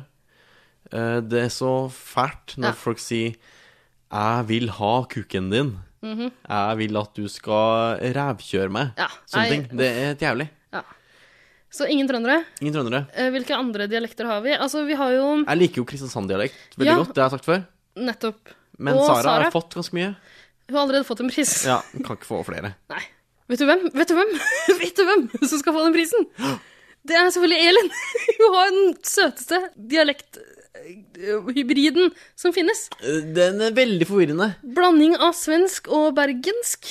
S2: Eh, Det er så fælt når
S1: Ja.
S2: folk sier 'Jeg vil ha kuken din'. 'Jeg vil at du skal rævkjøre meg'.
S1: Mhm. Ja,
S2: Sånne
S1: nei,
S2: ting. Det er helt jævlig.
S1: Så ingen trøndere.
S2: Ingen trøndere.
S1: Eh, Hvilke andre dialekter har vi? Altså, vi har jo
S2: Jeg liker jo Kristiansand-dialekt veldig
S1: Ja.
S2: godt, det har jeg sagt før.
S1: nettopp
S2: Men
S1: Og
S2: Sara,
S1: Sara.
S2: har fått ganske mye.
S1: Hun har allerede fått en pris.
S2: Ja, hun Kan ikke få flere.
S1: Nei. Vet du hvem? Vet du hvem? Vet du hvem som skal få den prisen? Det er selvfølgelig Elin. Hun har den søteste dialekthybriden som finnes.
S2: Eh, Den er veldig forvirrende.
S1: Blanding av svensk og bergensk.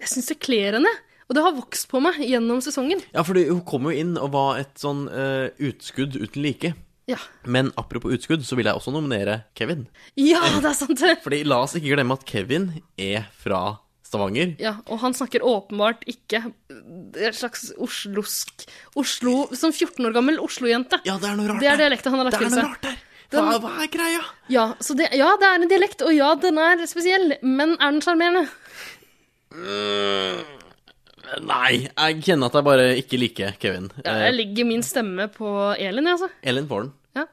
S1: Jeg syns det kler henne. Og det har vokst på meg gjennom sesongen.
S2: Ja, fordi hun kom jo inn og var et sånn eh, utskudd uten like.
S1: Ja,
S2: Men apropos utskudd, så vil jeg også nominere Kevin.
S1: ja det er sant, det.
S2: Fordi la oss ikke glemme at Kevin er fra Stavanger.
S1: Ja, og han snakker åpenbart ikke Det er et slags oslosk Oslo, Som 14 år gammel Oslo-jente.
S2: Ja, det er noe rart
S1: Det er
S2: der.
S1: dialekten han har lagt
S2: Det er
S1: til
S2: noe
S1: seg.
S2: rart der.
S1: Den,
S2: Hva, hva er greia?
S1: ja, så det, ja, det er en dialekt, og ja, den er spesiell, men er den sjarmerende?
S2: Nei, jeg kjenner at jeg bare ikke liker Kevin.
S1: Ja,
S2: Eh,
S1: jeg legger min stemme på Elin, jeg, altså.
S2: Elin får den.
S1: Ja.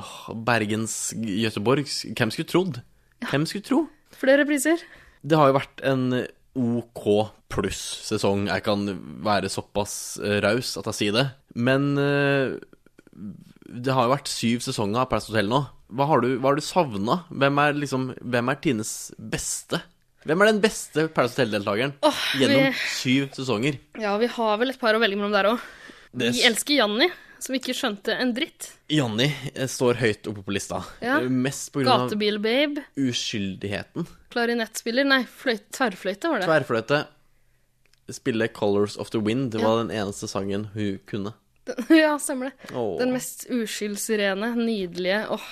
S2: Åh, Bergens, Göteborgs Hvem skulle trodd? Hvem skulle tro?
S1: Flere priser.
S2: Det har jo vært en OK pluss-sesong. Jeg kan være såpass eh, raus at jeg sier det. Men eh, det har jo vært syv sesonger av Paradise Hotel nå. Hva har du, hva har du savna? Hvem, er liksom, hvem er Tines beste? Hvem er den beste Paradise Hotel-deltakeren
S1: Åh,
S2: gjennom
S1: vi-
S2: syv sesonger?
S1: Ja, vi har vel et par å velge mellom der òg.
S2: Det
S1: Vi elsker Janni, som ikke skjønte en dritt.
S2: Janni eh, står høyt oppe på lista.
S1: Ja.
S2: Eh, Mest på grunn av
S1: Gatebil-babe.
S2: uskyldigheten.
S1: Klarinettspiller. Nei, fløyte, tverrfløyte var det.
S2: Tverrfløyte. Spille 'Colors of the Wind'. Det
S1: Ja.
S2: var den eneste sangen hun kunne.
S1: Ja, stemmer det.
S2: Åh.
S1: Den mest uskyldsrene, nydelige Åh,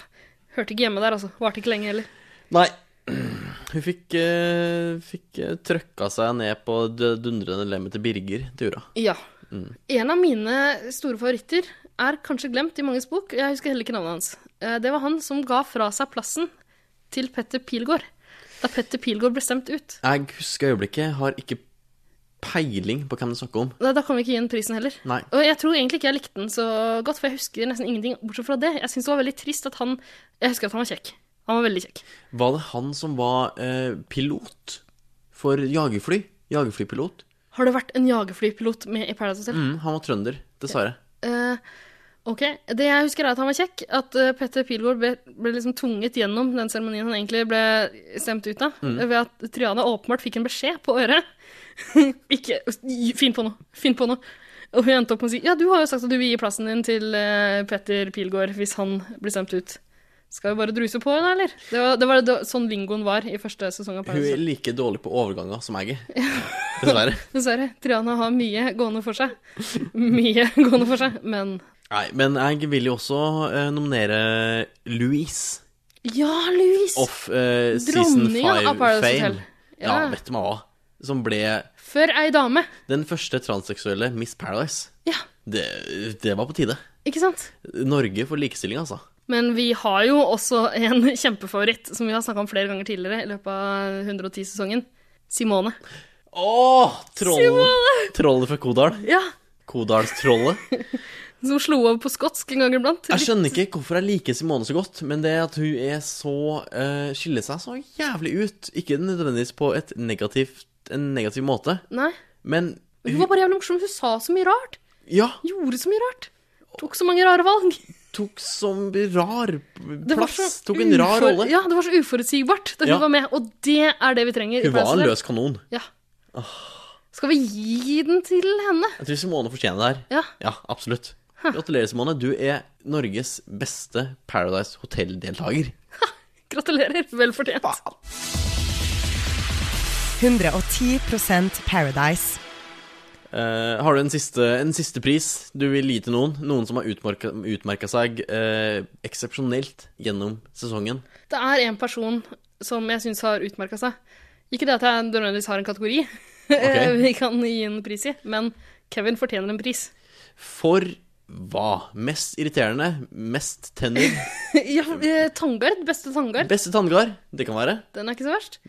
S1: hørte ikke hjemme der, altså. Varte ikke lenge heller.
S2: Nei. Hun fikk, eh, fikk eh, trøkka seg ned på det dundrende lemmet til Birger til jorda.
S1: Ja. En av mine store favoritter er kanskje glemt i manges bok. Jeg husker heller ikke navnet hans. Eh, Det var han som ga fra seg plassen til Petter Pilgaard. Da Petter Pilgaard ble stemt ut.
S2: Jeg husker øyeblikket, har ikke peiling på hvem det snakker om.
S1: Nei, Da kan vi ikke gi den prisen heller.
S2: Nei.
S1: Og jeg tror egentlig ikke jeg likte den så godt, for jeg husker nesten ingenting bortsett fra det. Jeg synes det var veldig trist at han Jeg husker at han var kjekk. Han var veldig kjekk.
S2: Var det han som var eh, pilot for jagerfly? Jagerflypilot?
S1: Har det vært en jagerflypilot med i Paradise Hotel?
S2: Mm, han var trønder, dessverre.
S1: Eh, ok, Det jeg husker, er at han var kjekk. At eh, Petter Pilgaard ble, ble liksom tvunget gjennom den seremonien han egentlig ble stemt ut av, ved at Triana åpenbart fikk en beskjed på øret. Ikke Finn på noe! Finn på noe! Og hun endte opp med å si ja, du har jo sagt at du vil gi plassen din til eh, Petter Pilgaard hvis han blir stemt ut. Skal vi bare druse på, da, eller? Det var, det var da, sånn lingoen var i første sesong av
S2: Hun
S1: Paradise
S2: er
S1: Hotel.
S2: like dårlig på overganger som jeg er. Dessverre.
S1: Dessverre. Triana har mye gående for seg. Mye gående for seg, men
S2: Nei, men jeg vil jo også eh, nominere Louise.
S1: Ja, Louise!
S2: Off eh, season
S1: Dronninga
S2: 5
S1: av Paradise
S2: fame.
S1: Hotel.
S2: Ja.
S1: Ja.
S2: vet du hva? Som ble
S1: For ei dame.
S2: den første transseksuelle Miss Paradise.
S1: Ja,
S2: Det, det var på tide.
S1: ikke sant?
S2: Norge for likestilling, altså.
S1: Men vi har jo også en kjempefavoritt som vi har snakka om flere ganger tidligere i løpet av 110-sesongen. Simone.
S2: Åh, trollet! Trollet fra Kodal.
S1: Ja,
S2: Kodalstrollet.
S1: Som slo over på skotsk en gang iblant.
S2: Jeg skjønner ikke hvorfor jeg liker Simone så godt, men det at hun er så eh, skiller seg så jævlig ut. Ikke nødvendigvis på et negativt, en negativ måte,
S1: Nei.
S2: men
S1: Hun var bare jævlig morsom. Hun sa så mye rart.
S2: ja,
S1: Gjorde så mye rart. Tok så mange rare valg.
S2: tok som rar
S1: Det var
S2: plass.
S1: så
S2: Tok en rar
S1: ufor-
S2: rolle.
S1: Ja, det var så uforutsigbart da hun
S2: Ja.
S1: var med, og det er det vi trenger. i
S2: Hun var en
S1: Paradise
S2: løs kanon.
S1: Hotel. Ja. Skal vi gi den til henne?
S2: Jeg tror Simone fortjener det her.
S1: Ja.
S2: Ja, absolutt. Gratulerer, Simone. Du er Norges beste Paradise Hotel-deltaker.
S1: Gratulerer. Vel fortjent.
S4: 110 Paradise.
S2: Eh, har du en siste, en siste pris du vil gi til noen? Noen som har utmerka seg eh, eksepsjonelt gjennom sesongen?
S1: Det er en person som jeg syns har utmerka seg. Ikke det at jeg nødvendigvis har en kategori eh, vi kan gi en pris i, men Kevin fortjener en pris.
S2: For hva? Mest irriterende? Mest tenner?
S1: ja, eh, Tangard. Beste Tangard.
S2: Beste tanngard? Det kan være.
S1: Den er ikke så verst.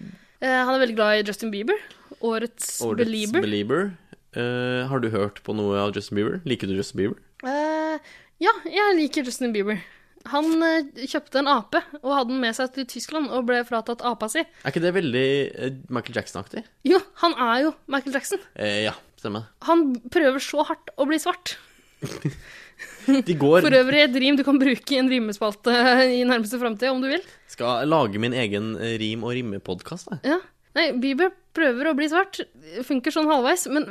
S1: Eh, han er veldig glad i Justin Bieber. Årets,
S2: Årets
S1: Belieber.
S2: Belieber. Eh, har du hørt på noe av Justin Bieber? Liker du Justin Bieber?
S1: Eh, ja, jeg liker Justin Bieber. Han eh, kjøpte en ape og hadde den med seg til Tyskland og ble fratatt apa si.
S2: Er ikke det veldig eh, Michael Jackson-aktig?
S1: Jo, han er jo Michael Jackson.
S2: Eh, ja, stemmer.
S1: Han prøver så hardt å bli svart.
S2: De går
S1: For øvrig et rim du kan bruke i en rimespalte i nærmeste framtid, om du vil.
S2: Skal jeg lage min egen eh, rim- og rimmepodkast, jeg.
S1: Ja. Nei, Bieber prøver å bli svart. Funker sånn halvveis, men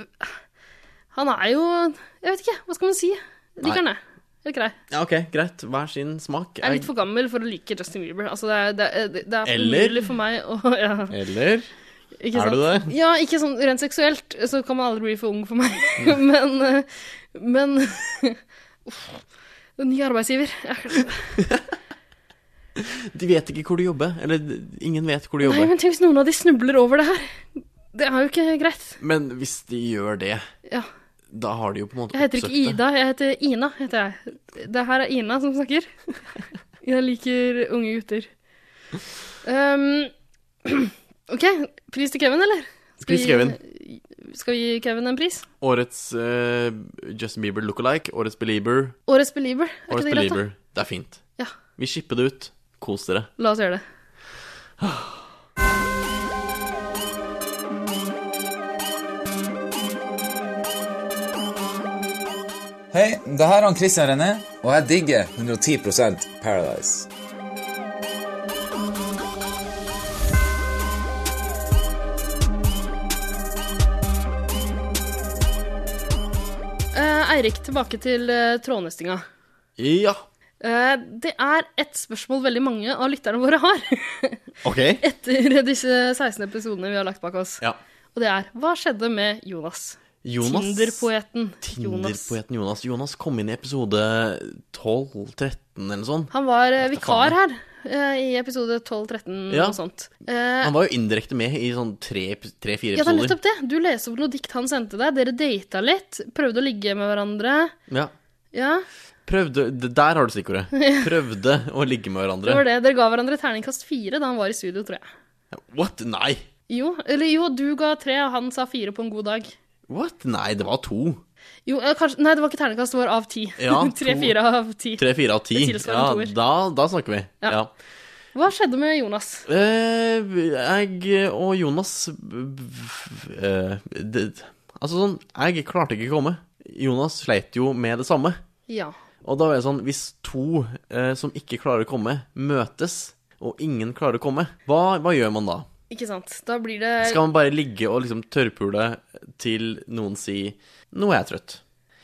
S1: han er jo Jeg vet ikke, hva skal man si?
S2: Nei.
S1: Liker han det? Helt grei.
S2: Ja, ok, greit. Hver sin smak.
S1: Jeg er litt for gammel for å like Justin Bieber. Altså, det er, det er, det er
S2: Eller-
S1: umulig for meg å ja,
S2: Eller
S1: ikke
S2: Er
S1: sant?
S2: du det?
S1: Ja, ikke sånn rent seksuelt, så kan man aldri bli for ung for meg. men eh, men Uff. Ny arbeidsgiver. Jeg-
S2: De vet ikke hvor du jobber. Eller d- ingen vet hvor du
S1: Nei,
S2: jobber.
S1: men tenk hvis noen av de snubler over det her. Det er jo ikke greit.
S2: Men hvis de gjør det,
S1: Ja.
S2: da har de jo på en måte
S1: Jeg heter ikke
S2: oppsøkt det.
S1: Ida, jeg heter Ina. heter jeg. Det her er Ina som snakker. Jeg liker unge gutter. Ehm, OK, pris til Kevin, eller? Skal
S2: Pris
S1: vi-
S2: Kevin.
S1: Skal vi gi Kevin en pris?
S2: Årets eh, Justin Bieber lookalike, årets Belieber,
S1: Årets Belieber. Er ikke
S2: årets
S1: det greit, da?
S2: Belieber. Det er fint.
S1: Ja,
S2: Vi shipper det ut. Kos dere.
S1: la oss gjøre det.
S7: Hei, det her er han Christian René, og jeg digger 110 Paradise.
S1: Eh, Eirik, tilbake til uh, trådnestinga.
S2: Ja.
S1: Eh, det er ett spørsmål veldig mange av lytterne våre har
S2: Ok.
S1: etter disse 16 episodene vi har lagt bak oss.
S2: Ja.
S1: Og det er Hva skjedde med Jonas?
S2: Jonas
S1: Tinder-poeten Jonas.
S2: Tinderpoeten Jonas. Jonas kom inn i episode 12-13 eller sånn.
S1: Han var eh,
S2: Vet da
S1: vikar her
S2: faen.
S1: eh, i episode 12-13
S2: Ja.
S1: og sånt. Eh,
S2: Han var jo indirekte med i sånn
S1: ja,
S2: tre-fire
S1: det er
S2: episoder.
S1: nettopp det. Du leste opp noe dikt han sendte deg. Dere data litt. Prøvde å ligge med hverandre.
S2: Ja.
S1: Ja,
S2: Prøvde d- Der har du stikkordet. Prøvde å ligge med
S1: det var
S2: hverandre.
S1: det. Dere ga hverandre terningkast fire da han var i studio, tror jeg.
S2: What? Nei.
S1: Jo, eller jo, du ga tre, og han sa fire på en god dag.
S2: What? Nei, det var to.
S1: Jo, eh, kanskje, nei, det var ikke terningkast, det var av ti.
S2: Ja, to-
S1: Tre-fire av ti.
S2: Tre-fire av ti.
S1: Det
S2: Ja,
S1: tilsvarende toer.
S2: da, da snakker vi.
S1: Ja.
S2: Ja.
S1: Hva skjedde med Jonas?
S2: Eh, jeg og Jonas eh, det, Altså sånn, jeg klarte ikke å komme. Jonas sleit jo med det samme.
S1: Ja.
S2: Og da var jeg sånn, hvis to eh, som ikke klarer å komme, møtes, og ingen klarer å komme, hva, hva gjør man da?
S1: Ikke sant. Da blir det
S2: Skal man bare ligge og liksom tørrpule til noen si 'nå er jeg trøtt'?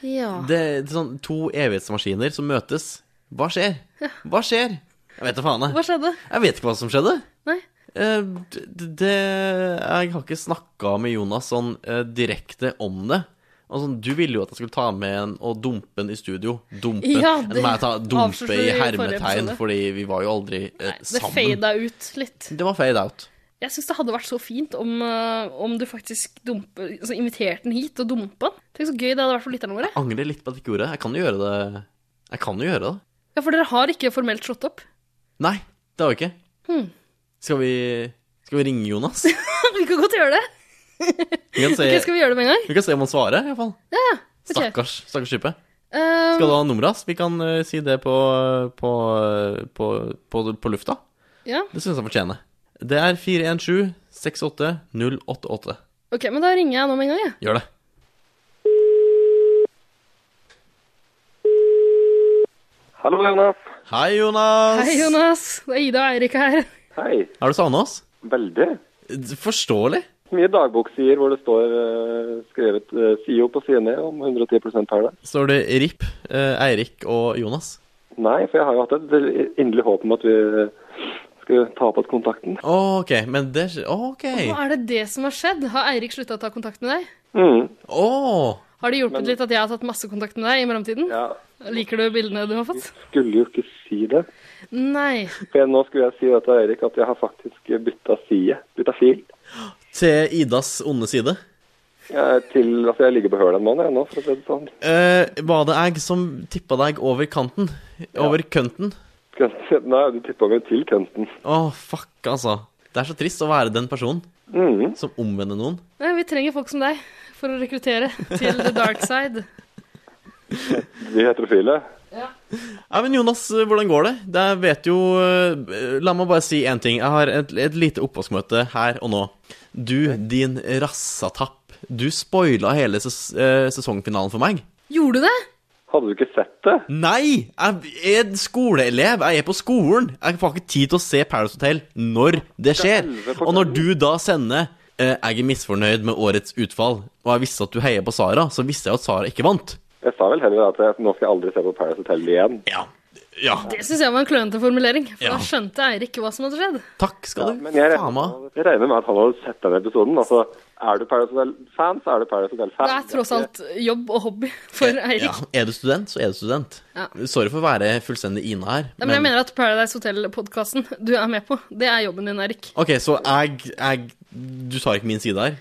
S1: Ja.
S2: Det er sånn to evighetsmaskiner som møtes. Hva skjer? Hva skjer? Jeg vet da faen,
S1: Hva
S2: jeg.
S1: skjedde?
S2: Jeg vet ikke hva som skjedde.
S1: Nei.
S2: Eh, d- d- det Jeg har ikke snakka med Jonas sånn eh, direkte om det. Og sånn, du ville jo at jeg skulle ta med en og dumpe en i studio. Dumpe.
S1: Ja,
S2: Eller
S1: det
S2: må jeg ta dumpe
S1: avsluttet vi
S2: i
S1: i forrige
S2: hermetegn,
S1: episode.
S2: fordi vi var jo aldri eh,
S1: Det
S2: sammen.
S1: fada ut litt.
S2: Det var fade out.
S1: Jeg syns det hadde vært så fint om, eh, om du faktisk dumpe, altså, inviterte den hit og dumpa den. Tenk så gøy det hadde vært for lytterne våre.
S2: Angrer litt på at jeg ikke gjorde det. Jeg kan jo gjøre det. Jeg kan jo gjøre det.
S1: Ja, For dere har ikke formelt slått opp.
S2: Nei, det har vi ikke.
S1: Hmm.
S2: Skal vi Skal vi ringe Jonas? Vi
S1: vi kan godt gjøre det.
S2: kan se,
S1: Ok, skal vi gjøre det med en gang?
S2: vi kan se om han svarer, iallfall.
S1: Ja, ja. ok.
S2: Stakkars stakkars type.
S1: Eh,
S2: Skal du ha nummeret hans? Vi kan eh, si det på, på, på, på, på lufta.
S1: ja.
S2: Det syns jeg fortjener. Det er 417-68-088.
S1: Ok, men da ringer jeg nå med en gang, jeg.
S2: Gjør det.
S8: Hallo, Jonas.
S2: Hei, Jonas.
S1: Hei, Jonas. Det er Ida og Eirik her.
S8: Hei.
S2: Har du savna oss?
S8: Veldig.
S2: Forståelig.
S8: Mye dagboksider hvor det står eh, skrevet eh, side opp og side ned om 110 Paradise.
S2: Står det RIP, eh, Eirik og Jonas?
S8: Nei, for jeg har jo hatt et veldig inderlig håp om at vi eh, skulle ta opp igjen kontakten.
S2: Å, ok, men det skj- Å, OK.
S1: Hva er det det som har skjedd? Har Eirik slutta å ta kontakt med deg?
S8: Mm.
S2: Å!
S1: Har det hjulpet litt at jeg har tatt masse kontakt med deg i mellomtiden?
S8: Ja,
S1: Liker du bildene du har fått?
S8: skulle jo ikke si det.
S2: Mm.
S1: Nei.
S8: For nå skulle jeg si det til Eirik at jeg har faktisk bytta side, bytta fil.
S2: Til Idas onde side.
S8: Jeg, til, altså, jeg ligger på hølet en måned jeg, nå, for å si det sånn.
S2: Eh, var det jeg som tippa deg over kanten? Over kønten?
S8: Kønten- Nei, du tippa meg til kønten.
S2: Å, fuck, altså. Det er så trist å være den personen
S8: Mm.
S2: som omvender noen.
S1: Nei, vi trenger folk som deg for å rekruttere til the dark side.
S8: Vi heterofile.
S2: Nei, men Jonas, eh, hvordan går det? Det er- vet jo eh, La meg bare si én ting. Jeg har et, et lite oppvaskmøte her og nå. Du, din rassatapp. Du spoila hele ses eh, sesongfinalen for meg.
S1: Gjorde du det?
S8: Hadde du ikke sett det?
S2: Nei! Jeg er en skoleelev. Jeg er på skolen. Jeg får ikke tid til å se Paradise Hotel når det skjer. Og når du da sender eh, 'Jeg er misfornøyd med årets utfall', og jeg visste at du heier på Sara, så visste jeg at Sara ikke vant.
S8: Jeg sa vel heller at jeg, nå skal jeg aldri se på Paradise Hotel igjen.
S2: Ja. ja.
S1: Det syns jeg var en klønete formulering, for
S2: Ja.
S1: da skjønte Eirik hva som hadde skjedd.
S2: Takk skal du
S8: Men jeg
S2: faen meg ha.
S8: regner, jeg regner med at han hadde sett den episoden. Altså, er du Paradise Hotel-fan, så er du Paradise Hotel-fan.
S1: Det er tross alt jobb og hobby for Eirik.
S2: Ja, er du student, så er du student.
S1: Ja.
S2: Sorry for å være fullstendig Ina her.
S1: Nei, men jeg mener at Paradise Hotel-podkasten du er med på, det er jobben din, Eirik.
S2: Ok, så jeg, jeg Du tar ikke min side her?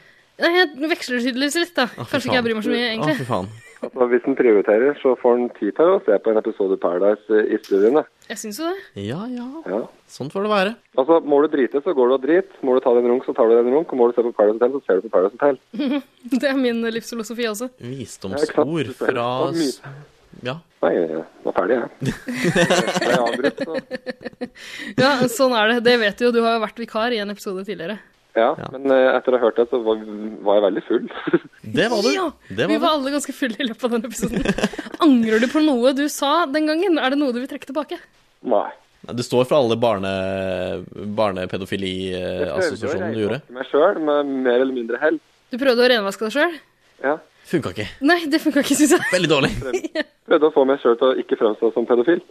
S1: Nei, jeg veksler tydeligvis litt, da.
S2: Å, fy
S1: Kanskje ikke jeg
S2: faen.
S1: bryr meg så mye,
S2: Å,
S1: egentlig.
S2: fy faen.
S8: Altså, hvis en prioriterer, så får en tid til å se på en episode Paradise eh, i studiene.
S1: Jeg syns jo det.
S2: Ja, ja.
S8: Ja.
S2: Sånn får det være.
S8: Altså, må du drite, så går du og drit. Må du ta deg en runk, så tar du deg en runk. Og må du se på Paradise Hotel, så ser du på Paradise Hotel.
S1: Det er min livsfilosofi også.
S2: Visdomsord fra s- Ja.
S8: Nei, jeg var ferdig, jeg. Ble jeg avbrutt, så.
S1: Ja, sånn er det. Det vet du jo. Du har jo vært vikar i en episode tidligere.
S8: Ja, men eh, etter å ha hørt det, så var, var jeg veldig full.
S2: Det var du.
S1: Ja,
S2: Det
S1: vi
S2: var
S1: var
S2: du.
S1: alle ganske fulle i løpet av den episoden. Angrer du på noe du sa den gangen? Er det noe du vil trekke tilbake?
S8: Nei.
S2: Nei, Det står for alle barne,
S8: Jeg prøvde å
S2: barnepedofiliassosiasjonen Eh, du gjorde.
S8: reise meg sjøl med mer eller mindre hell.
S1: Du prøvde å renvaske deg sjøl?
S8: Ja.
S2: Funka ikke.
S1: Nei, det funka ikke, syns jeg.
S2: Veldig dårlig.
S8: Prøvde å få meg sjøl til å ikke fremstå som pedofil.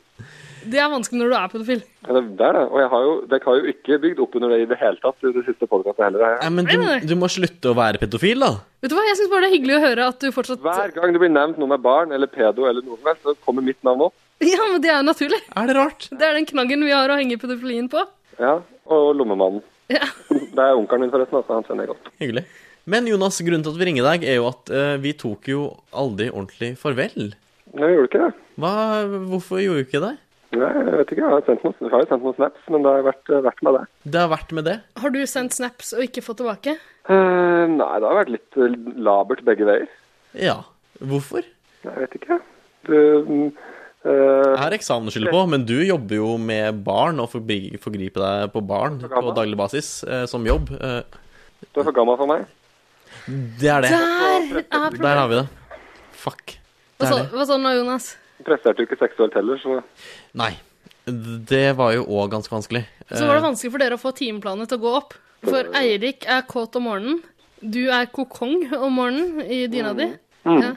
S1: Det er vanskelig når du er pedofil.
S8: Ja, det er det. Og jeg har jo, dere har jo ikke bygd opp under det i det hele tatt i det siste podkastet heller. har
S2: Nei,
S8: Jeg.
S2: men du,
S1: Nei, nei, nei.
S2: du må slutte å være pedofil, da.
S1: Vet du hva, Jeg syns bare det er hyggelig å høre at du fortsatt
S8: Hver gang det blir nevnt noe med barn eller pedo eller noe som helst, så kommer mitt navn opp.
S1: Ja, men det er jo naturlig.
S2: Er det rart?
S1: Det er den knaggen vi har å henge pedofilien på.
S8: Ja, Og lommemannen.
S1: Ja.
S8: Det er onkelen min, forresten. Altså, han kjenner jeg godt.
S2: Hyggelig. Men Jonas, grunnen til at vi ringer deg, er jo at eh, vi tok jo aldri ordentlig farvel.
S8: Nei, jeg gjorde ikke det.
S2: Hva, hvorfor gjorde vi ikke det?
S8: Nei, jeg vet ikke. Jeg har, sendt noen, jeg har jo sendt noen snaps, men det har vært, vært med det.
S2: Det har vært med det.
S1: Har du sendt snaps og ikke fått tilbake?
S8: Eh, nei, det har vært litt eh, labert begge veier.
S2: Ja. Hvorfor?
S8: Nei, Jeg vet ikke. Du mm, eh,
S2: Jeg har eksamen å skylde på, men du jobber jo med barn og forbri- forgriper deg på barn på
S8: gammel.
S2: daglig basis eh, som jobb. Eh,
S8: Du er for gammel for meg.
S2: det er det.
S1: Der er problemet.
S2: Der har vi det. Fuck.
S1: Hva
S2: Det
S1: sa,
S2: er det.
S1: hva sa du nå, Jonas?
S8: Presterte jo ikke seksuelt heller, så
S2: Nei. Det var jo òg ganske vanskelig.
S1: Så var det sånn- vanskelig for dere å få timeplanet til å gå opp. For Eirik er kåt om morgenen. Du er kokong om morgenen i dyna di.
S8: Mm.
S1: Ja.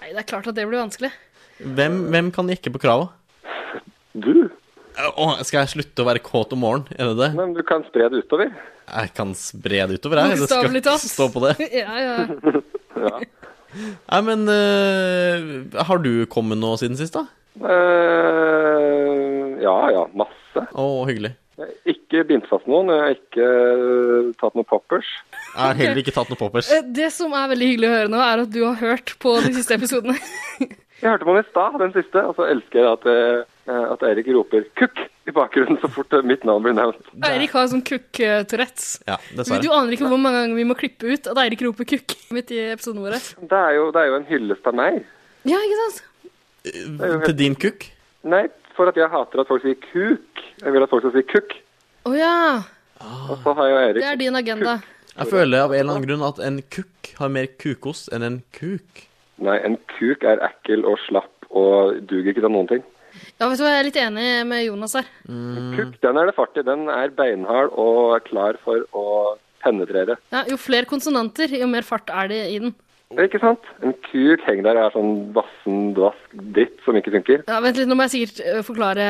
S1: Nei, det er klart at det blir vanskelig.
S2: Eh, Hvem, hvem kan jekke på krava?
S8: Du?
S2: Eh, Å, skal jeg slutte å være kåt om morgenen? Er det det?
S8: Men du kan spre det utover.
S2: Jeg kan spre det utover, jeg. Det skal
S1: Bokstavelig
S2: ikke
S1: talt.
S2: stå på det.
S1: Ja, ja.
S2: Nei, men eh, har du kommet nå siden sist, da?
S8: Eh, ja, ja. Masse.
S2: Å, hyggelig.
S8: Jeg har ikke bindt fast noen. Jeg har ikke eh, tatt noen poppers.
S2: Jeg har heller ikke tatt noe poppers.
S1: Eh, Det som er veldig hyggelig å høre nå, er at du har hørt på de siste episodene.
S8: Jeg hørte på den i stad, den siste, og så elsker jeg at, eh, at Eirik roper 'kukk' i bakgrunnen så fort eh, mitt navn blir nevnt.
S1: Eirik har sånn kukk-tourettes.
S2: Ja,
S1: Du
S2: dessverre.
S1: aner ikke hvor mange ganger vi må klippe ut at Eirik roper kukk midt i episodene våre.
S8: Det er jo, det er jo en hyllest av meg.
S1: Ja, ikke sant?
S2: Eh, Til din kukk?
S8: Nei, for at jeg hater at folk sier 'kuk'. Jeg vil at folk skal si 'kukk'.
S1: Å ja.
S8: Og så har jo
S1: Det er
S8: Eirik
S1: din agenda.
S2: Jeg føler av en eller annen grunn at en kukk har mer kukost enn en kuk.
S8: Nei, en kuk er ekkel og slapp og duger ikke til noen ting.
S1: Ja, vet du hva, jeg er litt enig med Jonas her.
S8: Kukk, den er det fart i. Den er beinhard og er klar for å penetrere.
S1: Ja, jo flere konsonanter, jo mer fart er det i den.
S8: Ja, Ikke sant? En kuk henger der og er sånn vassen, dvask dritt som ikke funker.
S1: Ja, Vent litt, nå må jeg sikkert eh, forklare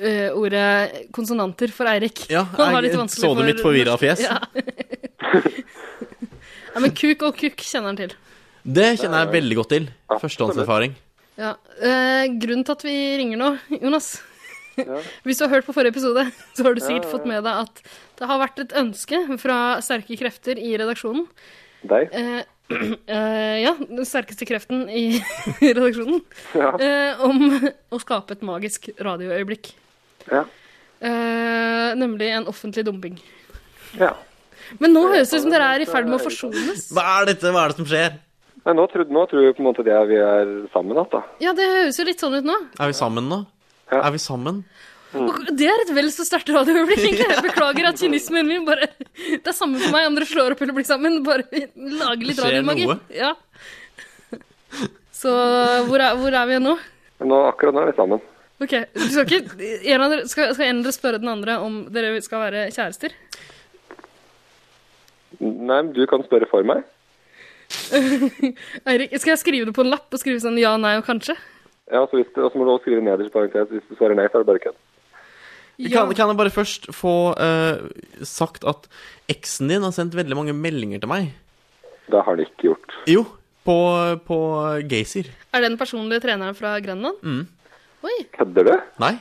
S1: eh, ordet konsonanter for Eirik.
S2: Ja,
S1: Han har
S2: jeg
S1: litt vanskelig
S2: så
S1: for
S2: det mitt forvirra fjes.
S1: Ja. ja, men kuk og kukk kjenner han til.
S2: Det kjenner jeg veldig godt til. Førstehåndserfaring.
S1: Ja. eh, grunnen til at vi ringer nå, Jonas Hvis du har hørt på forrige episode, så har du sikkert fått med deg at det har vært et ønske fra sterke krefter i redaksjonen
S8: Deg.
S1: eh, eh, Ja, den sterkeste kreften i redaksjonen eh, om å skape et magisk radioøyeblikk.
S8: Ja.
S1: Eh, nemlig en offentlig dumping.
S8: ja.
S1: Men nå høres det ut som dere er i ferd med å forsones.
S2: Hva er dette? Hva er det som skjer?
S8: Nei, nå, tror, nå tror jeg på en måte at jeg, vi er sammen igjen, da.
S1: Ja, det høres jo litt sånn ut nå.
S2: Er vi sammen nå?
S8: Ja.
S2: Er vi sammen?
S1: Og det er et vel så sterkt radioøyeblikk, egentlig. Jeg beklager at kynismen min bare Det er samme for meg om dere slår opp eller blir sammen. Bare lage litt
S2: Det skjer
S1: radiomagi.
S2: noe.
S1: Ja. Så hvor er, hvor er vi nå?
S8: Men nå, akkurat nå er vi sammen.
S1: Ok, du skal, ikke, en av dere, skal, skal en av dere spørre den andre om dere skal være kjærester?
S8: Nei, men du kan spørre for meg.
S1: Eirik, skal jeg skrive det på en lapp og skrive sånn ja, nei og kanskje?
S8: Ja, så hvis du, Og så må du også skrive nederst i parentes. Hvis du svarer nei, så er det bare kødd.
S1: Ja.
S2: Kan, kan jeg bare først få eh, sagt at eksen din har sendt veldig mange meldinger til meg?
S8: Det har de ikke gjort.
S2: Jo, på, på Gaysir.
S1: Er det den personlige treneren fra Grenland?
S2: Mm.
S1: Oi.
S8: Kødder du?
S2: Nei,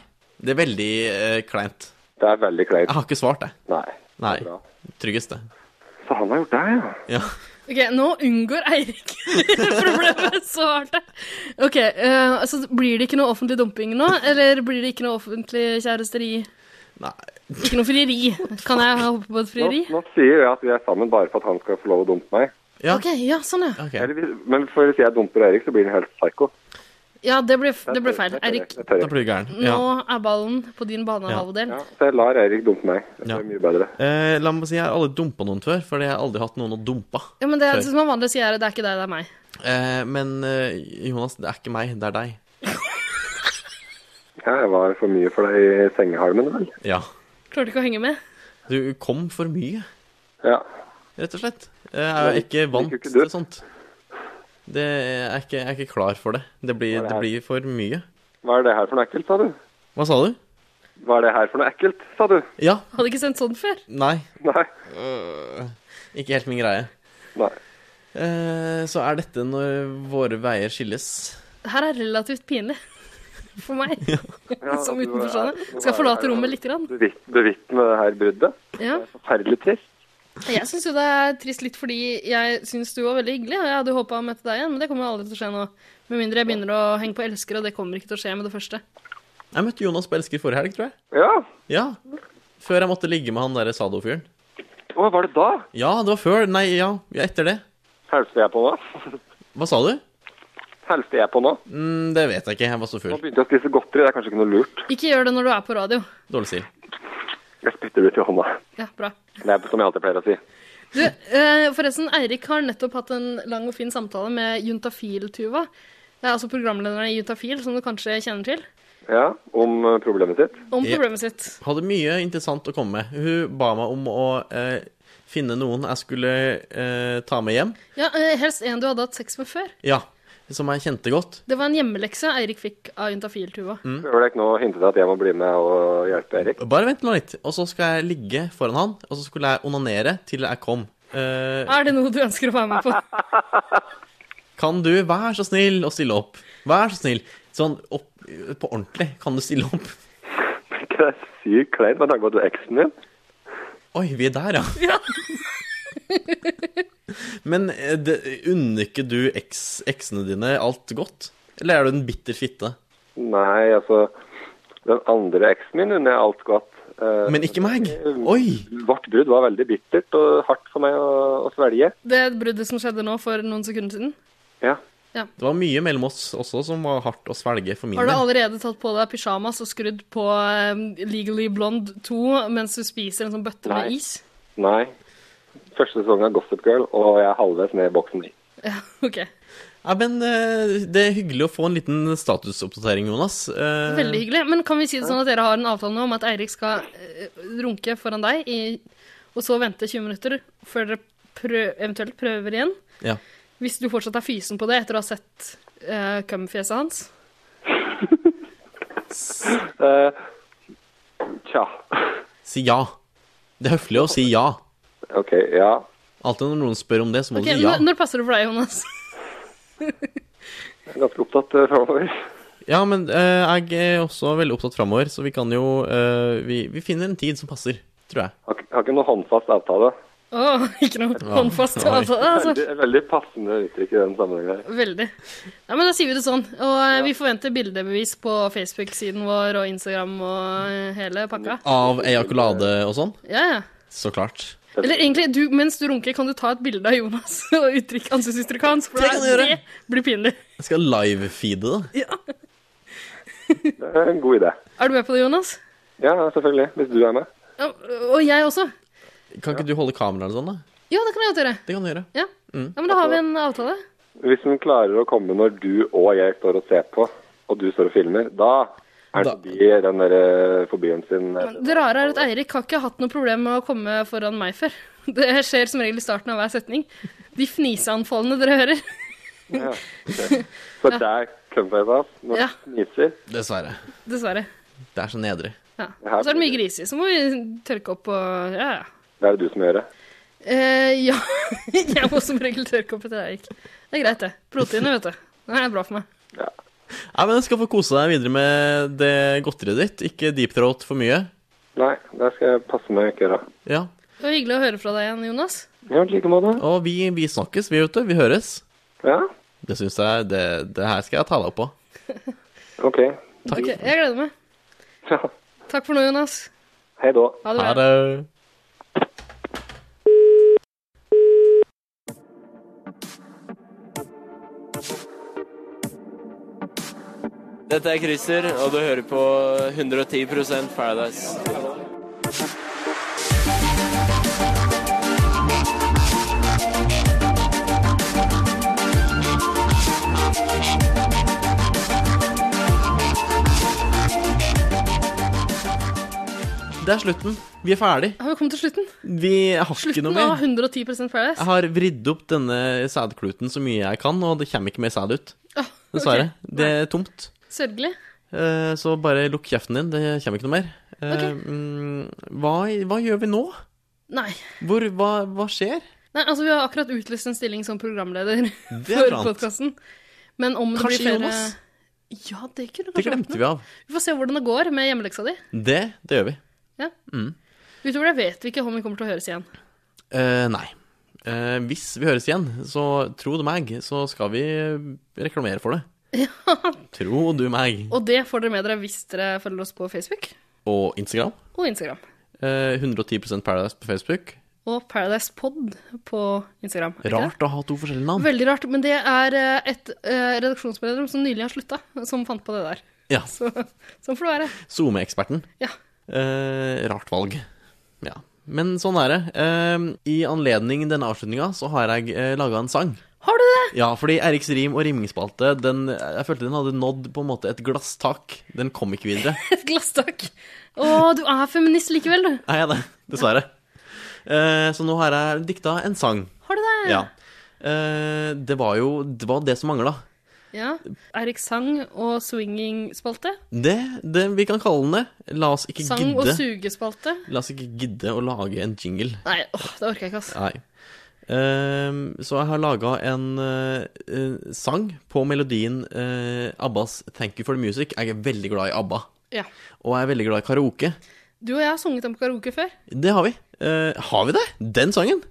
S2: det er veldig eh, kleint.
S8: Det er veldig kleint.
S2: Jeg har ikke svart, jeg.
S8: Nei.
S2: Ah, Nei.
S8: Bra.
S2: Tryggest, det.
S8: Så han har gjort det, ja.
S2: Ja.
S1: Ok, nå unngår Eirik problemet så hardt. Ok, eh, altså blir det ikke noe offentlig dumping nå? Eller blir det ikke noe offentlig kjæresteri?
S2: Nei.
S1: Ikke noe frieri? Kan jeg hoppe på et
S8: Nå,
S1: frieri?
S8: nå sier jeg at vi er sammen bare for at han skal få lov å dumpe meg.
S2: Ja,
S1: Ok, ja, sånn ja.
S2: ok.
S8: Eller, hvis- men for hvis jeg dumper Eirik, så blir han helt psycho.
S1: Ja, det ble, det ble feil.
S8: Det tør jeg-
S1: Eirik,
S8: det
S2: Da
S8: tør jeg.
S2: blir du gæren.
S1: nå
S2: Ja.
S1: er ballen på din banehalvdel.
S8: Ja, så jeg lar Eirik dumpe meg. Det
S2: Ja.
S8: er mye bedre.
S2: Eh, la meg si, jeg har aldri dumpa noen før, for jeg har aldri hatt noen å dumpe.
S1: Ja, men det er
S2: Sorry.
S1: som man vanlig sier, er det er ikke deg, det er meg.
S2: Eh, men eh, Jonas, det er ikke meg, det er deg.
S8: Ja, jeg var for mye for deg i sengehalmen, vel?
S2: Ja.
S1: Klarte ikke å henge med.
S2: Du kom for mye,
S8: Ja.
S2: rett og slett. Jeg er jo ikke vant
S8: liker ikke
S2: til
S8: du.
S2: sånt. Det er ikke, jeg er ikke klar for det. Det blir,
S8: Hva er det
S2: det
S8: her?
S2: blir for mye.
S8: Hva er det her for noe ekkelt, sa du?
S2: Hva sa du?
S8: Hva er det her for noe ekkelt, sa du?
S2: Ja.
S1: Hadde ikke sendt sånn før.
S2: Nei.
S8: Nei.
S2: Øh, ikke helt min greie.
S8: Nei.
S2: Eh, så er dette når våre veier skilles.
S1: Det her er relativt pinlig. For meg,
S8: Ja,
S1: som
S8: du er-
S1: utenforstående.
S8: du
S1: Skal
S8: er-
S1: forlate rommet lite grann.
S8: Bevit- Bevitne det her bruddet.
S1: Ja.
S8: Det er forferdelig trist.
S1: Jeg syns jo det er trist litt fordi jeg syns du var veldig hyggelig, og jeg hadde håpa å møte deg igjen, men det kommer jo aldri til å skje nå. Med mindre jeg begynner å henge på elsker, og det kommer ikke til å skje med det første.
S2: Jeg møtte Jonas på Elsker forrige helg, tror jeg.
S8: Ja.
S2: Ja. Før jeg måtte ligge med han derre Sado-fyren.
S8: Hva var det da?
S2: Ja, det var før. Nei, ja. ja etter det.
S8: Helste jeg på nå?
S2: Hva sa du?
S8: Helste jeg på nå?
S2: Mm, det vet jeg ikke. Jeg var så
S8: Nå
S2: full.
S8: begynte jeg å spise godteri. Det er kanskje ikke noe lurt.
S1: Ikke gjør det når du er på radio.
S2: Dårlig stil.
S8: Jeg spytter ut i hånda.
S1: Ja, bra.
S8: Det er som jeg alltid pleier å si.
S1: Du, eh, forresten, Eirik har nettopp hatt en lang og fin samtale med Juntafil-Tuva. Det er altså programlederen i Juntafil, som du kanskje kjenner til,
S8: Ja, om eh, problemet sitt.
S1: om
S2: Ja.
S1: problemet sitt.
S2: Hadde mye interessant å komme med. Hun ba meg om å eh, finne noen jeg skulle eh, ta med hjem.
S1: Ja, eh, Helst en du hadde hatt sex med før.
S2: Ja. Som jeg kjente godt.
S1: Det var en hjemmelekse Eirik fikk av Juntafil-Tuva.
S8: Prøver dere ikke nå å hinte til at jeg må bli med og hjelpe Erik?
S2: Bare vent nå litt. Og så skal jeg ligge foran han, og så skulle jeg onanere til jeg kom. Eh,
S1: Er det noe du ønsker å være med på?
S2: Kan du være så snill å stille opp? Vær så snill. Sånn opp, på ordentlig. Kan du stille opp?
S8: Ikke Det er sykt kleint med tanke på at du er eksen min.
S2: Oi, vi er der, ja. Men eh, det, unner ikke du eks, eksene dine alt godt? Eller er du en bitter fitte?
S8: Nei, altså Den andre eksen min unner jeg alt godt. Eh,
S2: Men ikke meg. Oi.
S8: Vårt brudd var veldig bittert og hardt for meg å, å svelge.
S1: Det bruddet som skjedde nå for noen sekunder siden.
S8: Ja.
S2: Det var mye mellom oss også som var hardt å svelge for min
S1: Har du
S2: del.
S1: allerede tatt på deg pyjamas og skrudd på eh, Legally Blonde 2 mens du spiser en sånn bøtte med
S8: Nei.
S1: is?
S8: Nei. Første sesong av Gossip Girl, og jeg er halvveis ned i boksen.
S1: Ja, ok.
S2: Ja, men eh, det er hyggelig å få en liten statusoppdatering, Jonas. Eh,
S1: Veldig hyggelig. Men kan vi si det sånn at dere har en avtale nå om at Eirik skal eh, runke foran deg, i, og så vente 20 minutter før dere prø eventuelt prøver igjen?
S2: Ja.
S1: Hvis du fortsatt er fysen på det etter å ha sett uh, cum-fjeset hans?
S8: Eh, tja.
S2: Si ja. Det er høflig å si ja.
S8: OK, ja.
S2: Alltid når noen spør om det, så må
S1: Ok,
S2: du si ja.
S1: når, når passer det for deg, Jonas?
S8: Jeg er ganske opptatt uh, framover.
S2: Ja, men eh, jeg er også veldig opptatt framover, så vi kan jo eh, vi, vi finner en tid som passer, tror jeg.
S8: Har, ikke- har ikke noe håndfast avtale.
S1: Å, ikke noe håndfast.
S2: Oi.
S1: Altså, altså,
S8: Veldig, veldig passende uttrykk i den sammenhengen her.
S1: Veldig. Ja, men da sier vi det sånn. Og eh, vi forventer bildebevis på Facebook-siden vår og Instagram og eh, hele pakka.
S2: Av ejakulade og sånn?
S1: Ja, ja.
S2: Så klart.
S1: Eller egentlig, du, mens du runker, kan du ta et bilde av Jonas og uttrykk ansiktsuttrykket hans. For
S2: Det kan jeg
S1: det,
S2: gjøre.
S1: blir pinlig.
S2: Jeg skal live-feede det.
S1: Ja.
S8: Det er en god idé.
S1: Er du med på det, Jonas?
S8: Ja, selvfølgelig. Hvis du er med.
S1: Ja, og jeg også.
S2: Kan ikke du holde kameraet eller sånn, da?
S1: Ja, det kan jeg godt gjøre.
S2: Det kan du gjøre.
S1: Ja.
S2: Mm.
S1: ja, men da har vi en avtale.
S8: Hvis hun klarer å komme når du og jeg står og ser på, og du står og filmer, da er
S2: Da-
S8: det forbi den der eh, fobien sin.
S1: Det rare er at Eirik har ikke hatt noe problem med å komme foran meg før. Det skjer som regel i starten av hver setning. De fniseanfallene dere hører.
S8: Så der kommer jeg av når
S1: Ja.
S8: du fniser.
S2: Dessverre.
S1: Dessverre.
S2: Det er så nedrig.
S1: Ja. Og så er det mye griser, så må vi tørke opp og Ja, ja.
S8: Det er det du som gjør det.
S1: Eh, ja, jeg må som regel tørke opp etter Eirik. Det er greit, det. Proteinet, vet du. Det er bra for meg.
S2: Nei, men jeg skal få kose deg videre med det godteriet ditt. Ikke deep throat for mye.
S8: Nei, der skal jeg passe meg ikke da.
S2: Ja.
S1: Det var hyggelig å høre fra deg igjen, Jonas.
S8: Ja, i like måte.
S2: Og vi, vi snakkes, vi, vet du. Vi høres.
S8: Ja,
S2: Det syns jeg det, det her skal jeg ta deg opp på.
S8: OK.
S1: Ok, jeg gleder meg. Takk for nå, Jonas.
S8: Hei da.
S1: Ha det bra.
S2: Ha det.
S9: Dette er Christer, og du hører på 110 Paradise.
S2: Det er slutten. Vi er ferdig.
S1: Har vi kommet til slutten?
S2: Vi har ikke
S1: Slutten
S2: noe
S1: av
S2: mer.
S1: 110 Paradise.
S2: Jeg har vridd opp denne sædkluten så mye jeg kan, og det kommer ikke mer sæd ut.
S1: Ah, ok.
S2: Dessverre. Det er tomt.
S1: Sørgelig.
S2: Eh, Så bare lukk kjeften din, det kommer ikke noe mer. Eh,
S1: Ok.
S2: mm, Hva, hva gjør vi nå?
S1: Nei.
S2: Hvor, hva, hva skjer?
S1: Nei, altså Vi har akkurat utlyst en stilling som programleder
S2: Det er
S1: for
S2: sant.
S1: podkasten. Men om det
S2: Kanskje
S1: blir flere
S2: Jonas?
S1: Ja, det kunne
S2: Det
S1: kanskje vært
S2: glemte
S1: noe.
S2: vi av.
S1: Vi får se hvordan det går med hjemmeleksa di.
S2: Det, det gjør vi.
S1: Utover det vet vi ikke om vi kommer til å høres igjen.
S2: Eh, nei. Eh, hvis vi høres igjen, så tro du meg, så skal vi reklamere for det. Tro du meg.
S1: Og det får dere med dere hvis dere følger oss på Facebook
S2: Og Instagram.
S1: og Instagram.
S2: Eh, 110 Paradise på Facebook.
S1: Og Paradise Pod på Instagram. er det ikke det?
S2: Rart å ha to forskjellige navn.
S1: Veldig rart, men det er eh, et eh, redaksjonsmedlem som nylig har slutta, som fant på det der.
S2: Ja.
S1: Så sånn får det være.
S2: SoMe-eksperten.
S1: Ja.
S2: Eh, rart valg. Ja. Men sånn er det. Eh, I anledning denne avslutninga så har jeg uh, laga en sang.
S1: Har du det?
S2: Ja, fordi Eriks rim og rimingsspalte, den Jeg følte den hadde nådd på en måte et glasstak. Den kom ikke videre.
S1: Et glasstak. Å, du er feminist likevel, du.
S2: Er jeg det? Dessverre. Eh, så nå har jeg dikta en sang.
S1: Har du det?
S2: Ja. Eh, det var jo det, var det som mangla.
S1: Ja. Eirik sang og swinging-spalte.
S2: Det, det vi kan kalle den det. La oss ikke
S1: Sang og
S2: gidde
S1: sugespalte.
S2: La oss ikke gidde å lage en jingle.
S1: Nei, åh, det orker jeg ikke, altså.
S2: Nei. Ehm, så jeg har laga en eh, eh, sang på melodien eh, Abbas 'Thank You For The Music'. Jeg er veldig glad i ABBA,
S1: Ja.
S2: og jeg er veldig glad i karaoke.
S1: Du og jeg har sunget den på karaoke før.
S2: Det har vi. Eh, har vi det? Den sangen?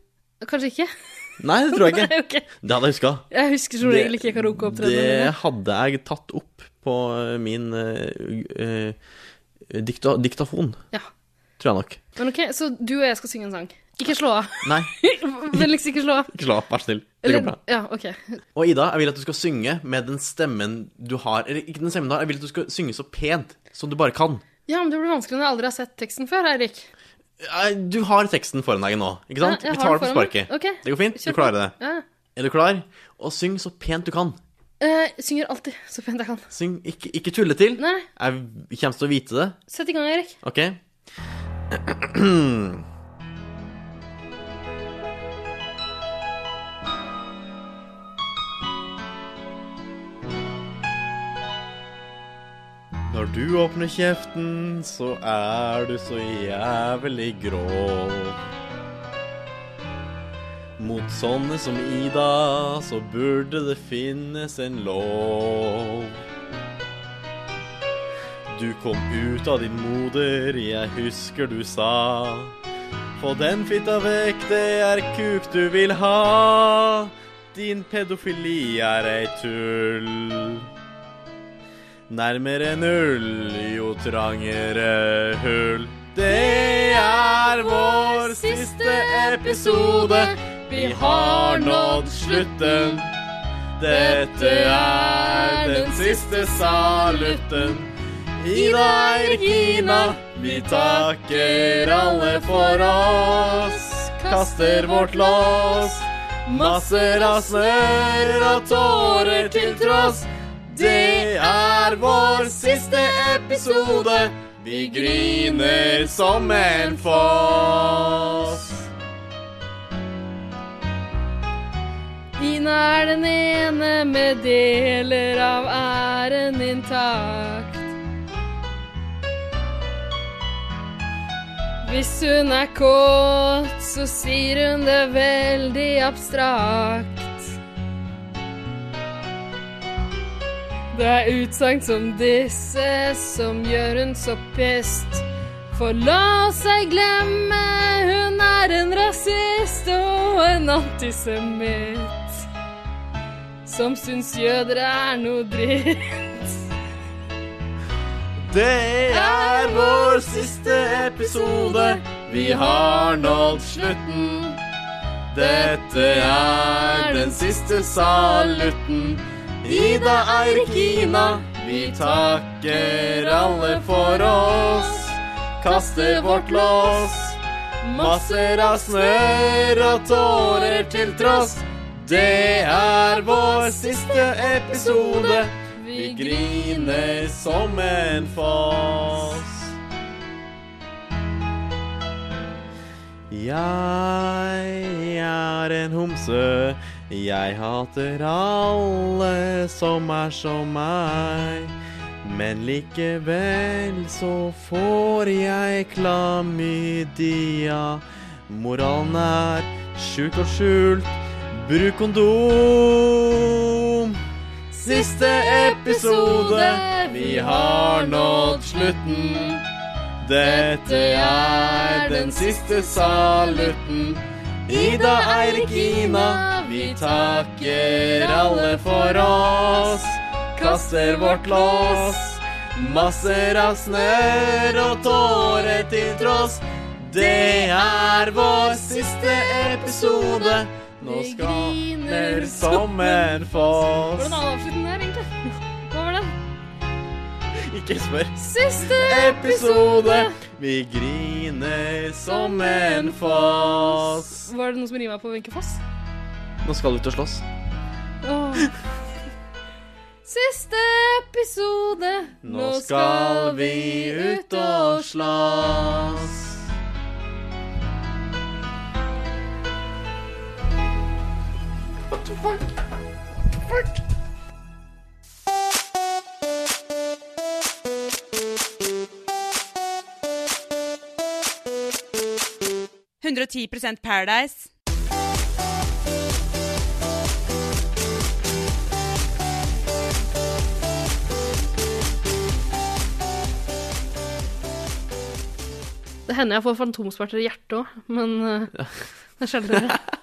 S1: Kanskje ikke?
S2: Nei, det tror jeg ikke.
S1: Nei, ok.
S2: Det hadde jeg huska.
S1: Jeg husker som regel ikke karaokeopptredenene.
S2: Det hadde jeg tatt opp på eh, min eh, eh, dikta, diktafon,
S1: Ja.
S2: tror jeg nok.
S1: Men ok, Så du og jeg skal synge en sang. Ikke slå av.
S2: Nei,
S1: Vennligst ikke slå av.
S2: ikke slapp, vær så snill. Det går
S1: Eller,
S2: bra.
S1: ja, ok.
S2: Og Ida, jeg vil at du skal synge med den stemmen du har. Eller ikke den stemmen du har, jeg vil at du skal synge så pent som du bare kan.
S1: Ja, men det blir vanskelig når jeg aldri har sett teksten før, Eirik.
S2: Eh, Du har teksten foran deg nå, ikke sant?
S1: Ja, jeg
S2: Vi
S1: har
S2: tar det på
S1: den foran meg.
S2: sparket.
S1: Ok,
S2: Det går fint,
S1: kjør
S2: du
S1: på.
S2: klarer det.
S1: Ja.
S2: Er du klar? Og syng så pent du kan.
S1: Eh, synger alltid så pent jeg kan.
S2: Syng, ikke, ikke tulle til.
S1: Nei,
S2: Jeg kommer til å vite det.
S1: sett i gang, Eirik.
S2: Ok. Når du åpner kjeften, så er du så jævlig grov. Mot sånne som Ida, så burde det finnes en lov. Du kom ut av din moder, jeg husker du sa. Få den fitta vekk, det er kuk du vil ha. Din pedofili er ei tull. Nærmere null, jo trangere hull. Det er vår siste episode. Vi har nådd slutten. Dette er den siste salutten. Ida Regina, vi takker alle for oss. Kaster vårt lås. Masser av snørr og tårer til tross. Det er vår siste episode. Vi griner som en foss.
S1: Ina er den ene med deler av æren intakt. Hvis hun er kåt, så sier hun det veldig abstrakt. Det er utsagn som disse som gjør hun så pissed. For la seg glemme, hun er en rasist og en antisemitt. som syns jøder er noe dritt.
S2: Det er vår siste episode. Vi har nådd slutten. Dette er den siste salutten. Ida Eirikina, vi takker alle for oss. Kaster vårt lås. Masser av snørr og tårer til tross. Det er vår siste episode. Vi griner som en foss. Jeg er en homse. Jeg hater alle som er som meg. Men likevel så får jeg klamydia. Moralen er sjuk og skjult. Bruk kondom. Siste episode, vi har nådd slutten. Dette er den siste salutten. Ida, Eirik, Ina, vi takker alle for oss. Kaster vårt lås. Masser av snørr og tårer til tross. Det er vår siste episode. Nå skal
S1: griner
S2: Griner som en foss.
S1: Hvordan avslutter den her, egentlig? Hva var den?
S2: Ikke spør.
S1: Siste
S2: Episode. Vi griner som en foss.
S1: Var det noen som rima på Wenche Foss?
S2: Nå skal du ut og slåss.
S1: Åh. Siste episode.
S2: Nå skal vi ut og slåss.
S3: Paradise.
S1: Det hender jeg får fantomsmerter i hjertet òg, men eh, det er sjeldnere.